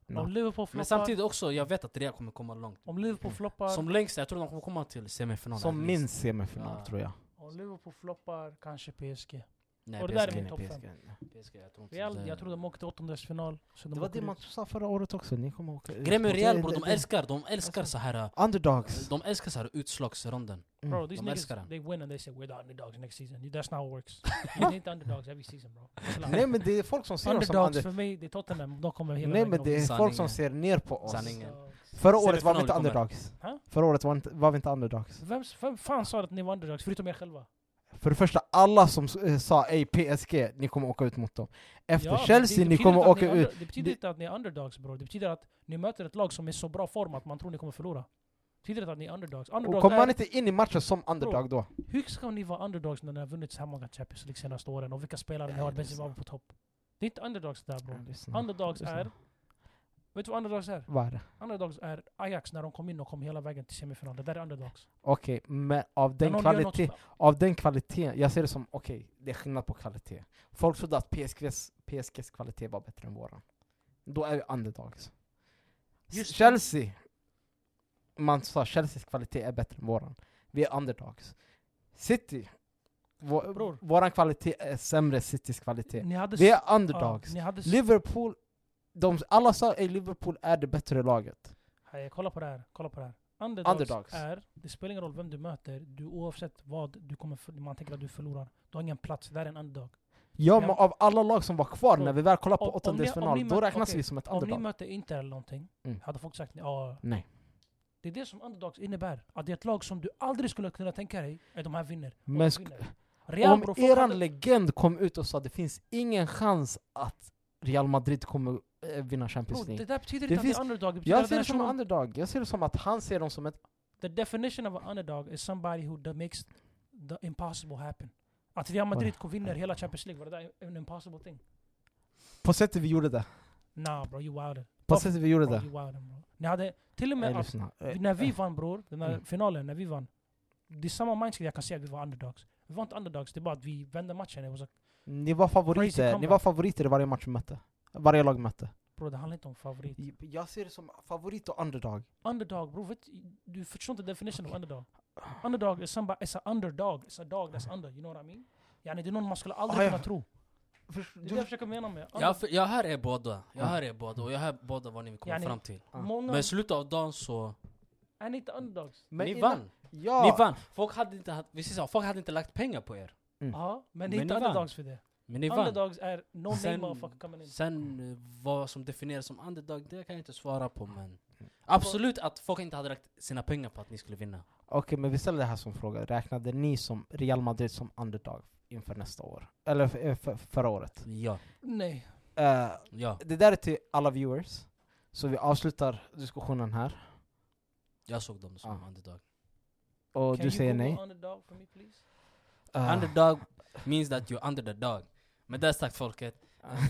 Speaker 2: No.
Speaker 1: Om Liverpool
Speaker 3: Men
Speaker 1: floppar,
Speaker 3: samtidigt också, jag vet att Real kommer komma långt.
Speaker 1: om Liverpool floppar,
Speaker 3: Som längst, jag tror de kommer komma till semifinalen. at
Speaker 2: Som
Speaker 3: least.
Speaker 2: minst semifinal
Speaker 3: Ja.
Speaker 2: tror jag.
Speaker 1: om Liverpool floppar kanske PSG.
Speaker 3: Nej,
Speaker 1: och det där är
Speaker 3: PSG,
Speaker 1: min
Speaker 2: Nej,
Speaker 1: topp fem.
Speaker 2: PSG.
Speaker 3: PSG, jag tror inte
Speaker 1: Real,
Speaker 3: det-
Speaker 1: jag tror de åkte åttondelsfinal. så de
Speaker 2: Det var
Speaker 1: åker
Speaker 2: det
Speaker 1: ut.
Speaker 2: man sa förra året också, ni kommer åka ut.
Speaker 3: Grejen med
Speaker 2: Och
Speaker 3: Real
Speaker 2: det-
Speaker 3: bror, de
Speaker 2: det-
Speaker 3: älskar, de älskar så här.
Speaker 2: Underdogs.
Speaker 3: De älskar så här utslagsronden.
Speaker 2: Mm.
Speaker 1: Bro, these
Speaker 3: De älskar
Speaker 1: niggas,
Speaker 3: den.
Speaker 1: they win and they say we're the underdogs next season. That's not how it works. You're inte underdogs every season bro. Slapp.
Speaker 2: Nej men det är folk som ser oss som
Speaker 1: underdogs
Speaker 2: under...
Speaker 1: för mig, det är Tottenham. De kommer hela
Speaker 2: Nej men det är folk som
Speaker 3: Sanningen.
Speaker 2: ser ner på oss.
Speaker 3: Sanningen.
Speaker 2: Förra året var vi
Speaker 3: Semifinal
Speaker 2: inte
Speaker 3: kommer.
Speaker 2: underdogs.
Speaker 1: Hä?
Speaker 2: Förra året var, inte, var vi inte underdogs.
Speaker 1: Vem, vem fan sa att ni var underdogs? Förutom er själva.
Speaker 2: För det första, alla som eh, sa ej PSG, ni kommer åka ut mot dem. Efter
Speaker 1: Ja, men
Speaker 2: Chelsea,
Speaker 1: det
Speaker 2: ni
Speaker 1: betyder
Speaker 2: kommer
Speaker 1: inte att
Speaker 2: åka
Speaker 1: ni är
Speaker 2: ut.
Speaker 1: under- Det betyder
Speaker 2: Det-
Speaker 1: inte att ni är underdogs bro. Det betyder att ni möter ett lag som är i så bra form att man tror ni kommer förlora. Det betyder inte att ni är underdogs.
Speaker 2: Och
Speaker 1: Underdogs
Speaker 2: kommer
Speaker 1: är,
Speaker 2: man inte in i matchen som underdog då?
Speaker 1: Hur ska ni vara underdogs när ni har vunnit så här många Champions League senaste åren? Och vilka spelare ni
Speaker 2: Ja,
Speaker 1: har?
Speaker 2: det är så.
Speaker 1: Benzema på topp. Det är inte underdogs där bro. Underdogs
Speaker 2: det är så.
Speaker 1: är... Vet du vad underdogs är?
Speaker 2: Vad är det?
Speaker 1: Underdogs är Ajax när de kom in och kom hela vägen till semifinal. Det där är underdogs.
Speaker 2: Okej, men av
Speaker 1: När
Speaker 2: den,
Speaker 1: någon gör
Speaker 2: kvalitet,
Speaker 1: något-
Speaker 2: av den kvaliteten, jag ser det som okej, det är skillnad på kvalitet. Folk trodde att PSGs, PSGs kvalitet var bättre än våran. Då är vi underdogs.
Speaker 1: Just det.
Speaker 2: Chelsea, man sa Chelseas kvalitet är bättre än våran. Vi är underdogs. City, vår,
Speaker 1: Bror.
Speaker 2: våran kvalitet är sämre än Citys kvalitet.
Speaker 1: Ni hade...
Speaker 2: Vi
Speaker 1: s-
Speaker 2: är
Speaker 1: ja,
Speaker 2: underdogs.
Speaker 1: Ni hade... s-
Speaker 2: Liverpool, de, alla sa att Liverpool är det bättre laget.
Speaker 1: Hej, kolla på det här. Kolla på det här. Underdogs,
Speaker 2: Underdogs.
Speaker 1: är... Det spelar ingen roll vem du möter. Du, oavsett vad du kommer... för- Man tänker att du förlorar. Du har ingen plats. Det där är en underdog.
Speaker 2: Ja,
Speaker 1: Ja.
Speaker 2: men av alla lag som var kvar
Speaker 1: Så,
Speaker 2: när vi väl kollade på
Speaker 1: om- om ni- om ni
Speaker 2: åttondelsfinal, då
Speaker 1: möter-
Speaker 2: räknas
Speaker 1: okej,
Speaker 2: vi som ett
Speaker 1: Om ni
Speaker 2: underdog.
Speaker 1: möter Inter eller någonting,
Speaker 2: Mm.
Speaker 1: hade folk sagt ja.
Speaker 2: Nej.
Speaker 1: Det är det som underdogs innebär. Att det är ett lag som du aldrig skulle kunna tänka dig, att de här vinner. Och
Speaker 2: Men
Speaker 1: de
Speaker 2: sk-
Speaker 1: vinner. Real,
Speaker 2: om
Speaker 1: bro, folk
Speaker 2: eran
Speaker 1: hade-
Speaker 2: legend kom ut och sa att det finns ingen chans att Real Madrid kommer eh, vinna
Speaker 1: Bro,
Speaker 2: Champions
Speaker 1: det
Speaker 2: League.
Speaker 1: där betyder
Speaker 2: Det
Speaker 1: inte
Speaker 2: finns-
Speaker 1: att det är underdog. Det betyder
Speaker 2: Jag
Speaker 1: att den
Speaker 2: ser
Speaker 1: här
Speaker 2: det som en
Speaker 1: personen-
Speaker 2: underdog. Jag ser det som att han ser dem som ett...
Speaker 1: The definition of an underdog is somebody who that makes the impossible happen. Att Real Madrid kom vinner hela Champions League, var det där en impossible thing?
Speaker 2: På sättet vi gjorde det.
Speaker 1: Nah bro, you wilded.
Speaker 2: På
Speaker 1: Varför-
Speaker 2: sättet vi gjorde
Speaker 1: Bro,
Speaker 2: det.
Speaker 1: you wilded bro. Ni hade till och med...
Speaker 2: Nej,
Speaker 1: Att,
Speaker 2: lyssna. Eh,
Speaker 1: när vi vann bror, den där
Speaker 2: Mm.
Speaker 1: finalen, när vi vann. Det är samma mindset jag kan säga att vi var underdogs. Vi var inte underdogs, det är bara att vi vände matchen. It was a,
Speaker 2: Ni var
Speaker 1: Crazy
Speaker 2: favoriter. Ni
Speaker 1: comeback.
Speaker 2: var favoriter i varje match vi mötte. Varje lag mötte.
Speaker 1: bro, det handlar inte om favorit.
Speaker 2: Jag ser det som favorit och underdog.
Speaker 1: Underdog bror, vet, du förstår inte definition av underdog. Underdog is somebody, is a underdog, is a dog that's under, you know what I mean? Yani det är någon man skulle aldrig
Speaker 2: Ah, ja.
Speaker 1: kunna tro. Det är det jag
Speaker 2: Du,
Speaker 1: försöker mena med.
Speaker 3: Jag, för- jag hör er båda, jag
Speaker 2: Ja.
Speaker 3: hör er båda och jag hör båda vad ni vill komma
Speaker 1: Yani-
Speaker 3: fram till
Speaker 2: Ah.
Speaker 1: Många
Speaker 3: Men i slutet av dagen så,
Speaker 1: är ni inte underdogs.
Speaker 2: men
Speaker 3: ni
Speaker 2: innan-
Speaker 3: vann!
Speaker 2: Ja.
Speaker 3: Ni vann! Folk hade, inte, haft- vi säger så, här, folk hade inte lagt pengar på er
Speaker 2: Mm.
Speaker 1: Ja, men ni
Speaker 3: Men
Speaker 1: är inte
Speaker 3: ni vann.
Speaker 1: underdogs för det.
Speaker 3: Men ni vann!
Speaker 1: Underdogs är no name
Speaker 3: Sen-
Speaker 1: motherfucker coming in.
Speaker 3: Sen eh, vad som definieras som underdog, det kan jag inte svara på men
Speaker 1: Mm.
Speaker 3: Absolut att folk inte hade lagt sina pengar på att ni skulle vinna
Speaker 2: Okej, men vi ställer det här som fråga. Räknade ni som Real Madrid som underdog inför nästa år? Eller för, för, förra året?
Speaker 3: Ja,
Speaker 1: Nej.
Speaker 2: Eh,
Speaker 3: ja,
Speaker 2: det där är till alla viewers. Så vi avslutar diskussionen här.
Speaker 3: jag såg dem som
Speaker 2: Ah.
Speaker 3: underdog
Speaker 2: Och
Speaker 1: Can
Speaker 2: du
Speaker 1: you
Speaker 2: säger
Speaker 1: Google
Speaker 2: nej.
Speaker 1: underdog for me please?
Speaker 2: Eh,
Speaker 1: Ah.
Speaker 3: Underdog means that you're under the dog Med det sagt folket,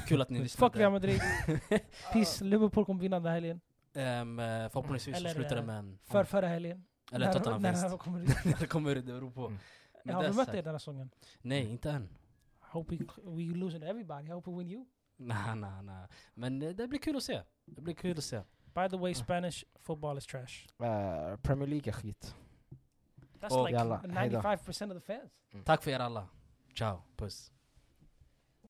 Speaker 3: kul att ni
Speaker 1: Ah. Fuck Real
Speaker 3: lyssnade
Speaker 1: Madrid. Peace. Liverpool kommer vinna den här helgen.
Speaker 3: um, Förhoppningsvis så
Speaker 1: Eller,
Speaker 3: slutar det
Speaker 1: eh,
Speaker 3: med en,
Speaker 1: För förra helgen.
Speaker 3: eller en
Speaker 1: När- när
Speaker 3: Tottenham-vinst
Speaker 1: han kommer ut.
Speaker 3: När det kommer ut, det beror på
Speaker 2: Mm.
Speaker 3: Med
Speaker 1: Har
Speaker 3: det
Speaker 1: vi mött
Speaker 3: sagt-
Speaker 1: er den här säsongen?
Speaker 3: Nej, inte än
Speaker 1: Hope we, we losing everybody. Hope we win you.
Speaker 3: Nej, nej, nej Men eh, det blir kul att se Det blir kul att se
Speaker 1: By the way, Spanish football is trash.
Speaker 2: eh, Premier League är skit.
Speaker 1: That's
Speaker 3: Och-
Speaker 1: like
Speaker 2: Jalla, hejdå.
Speaker 1: 95% of the fans.
Speaker 3: Tack för er alla Ciao, puss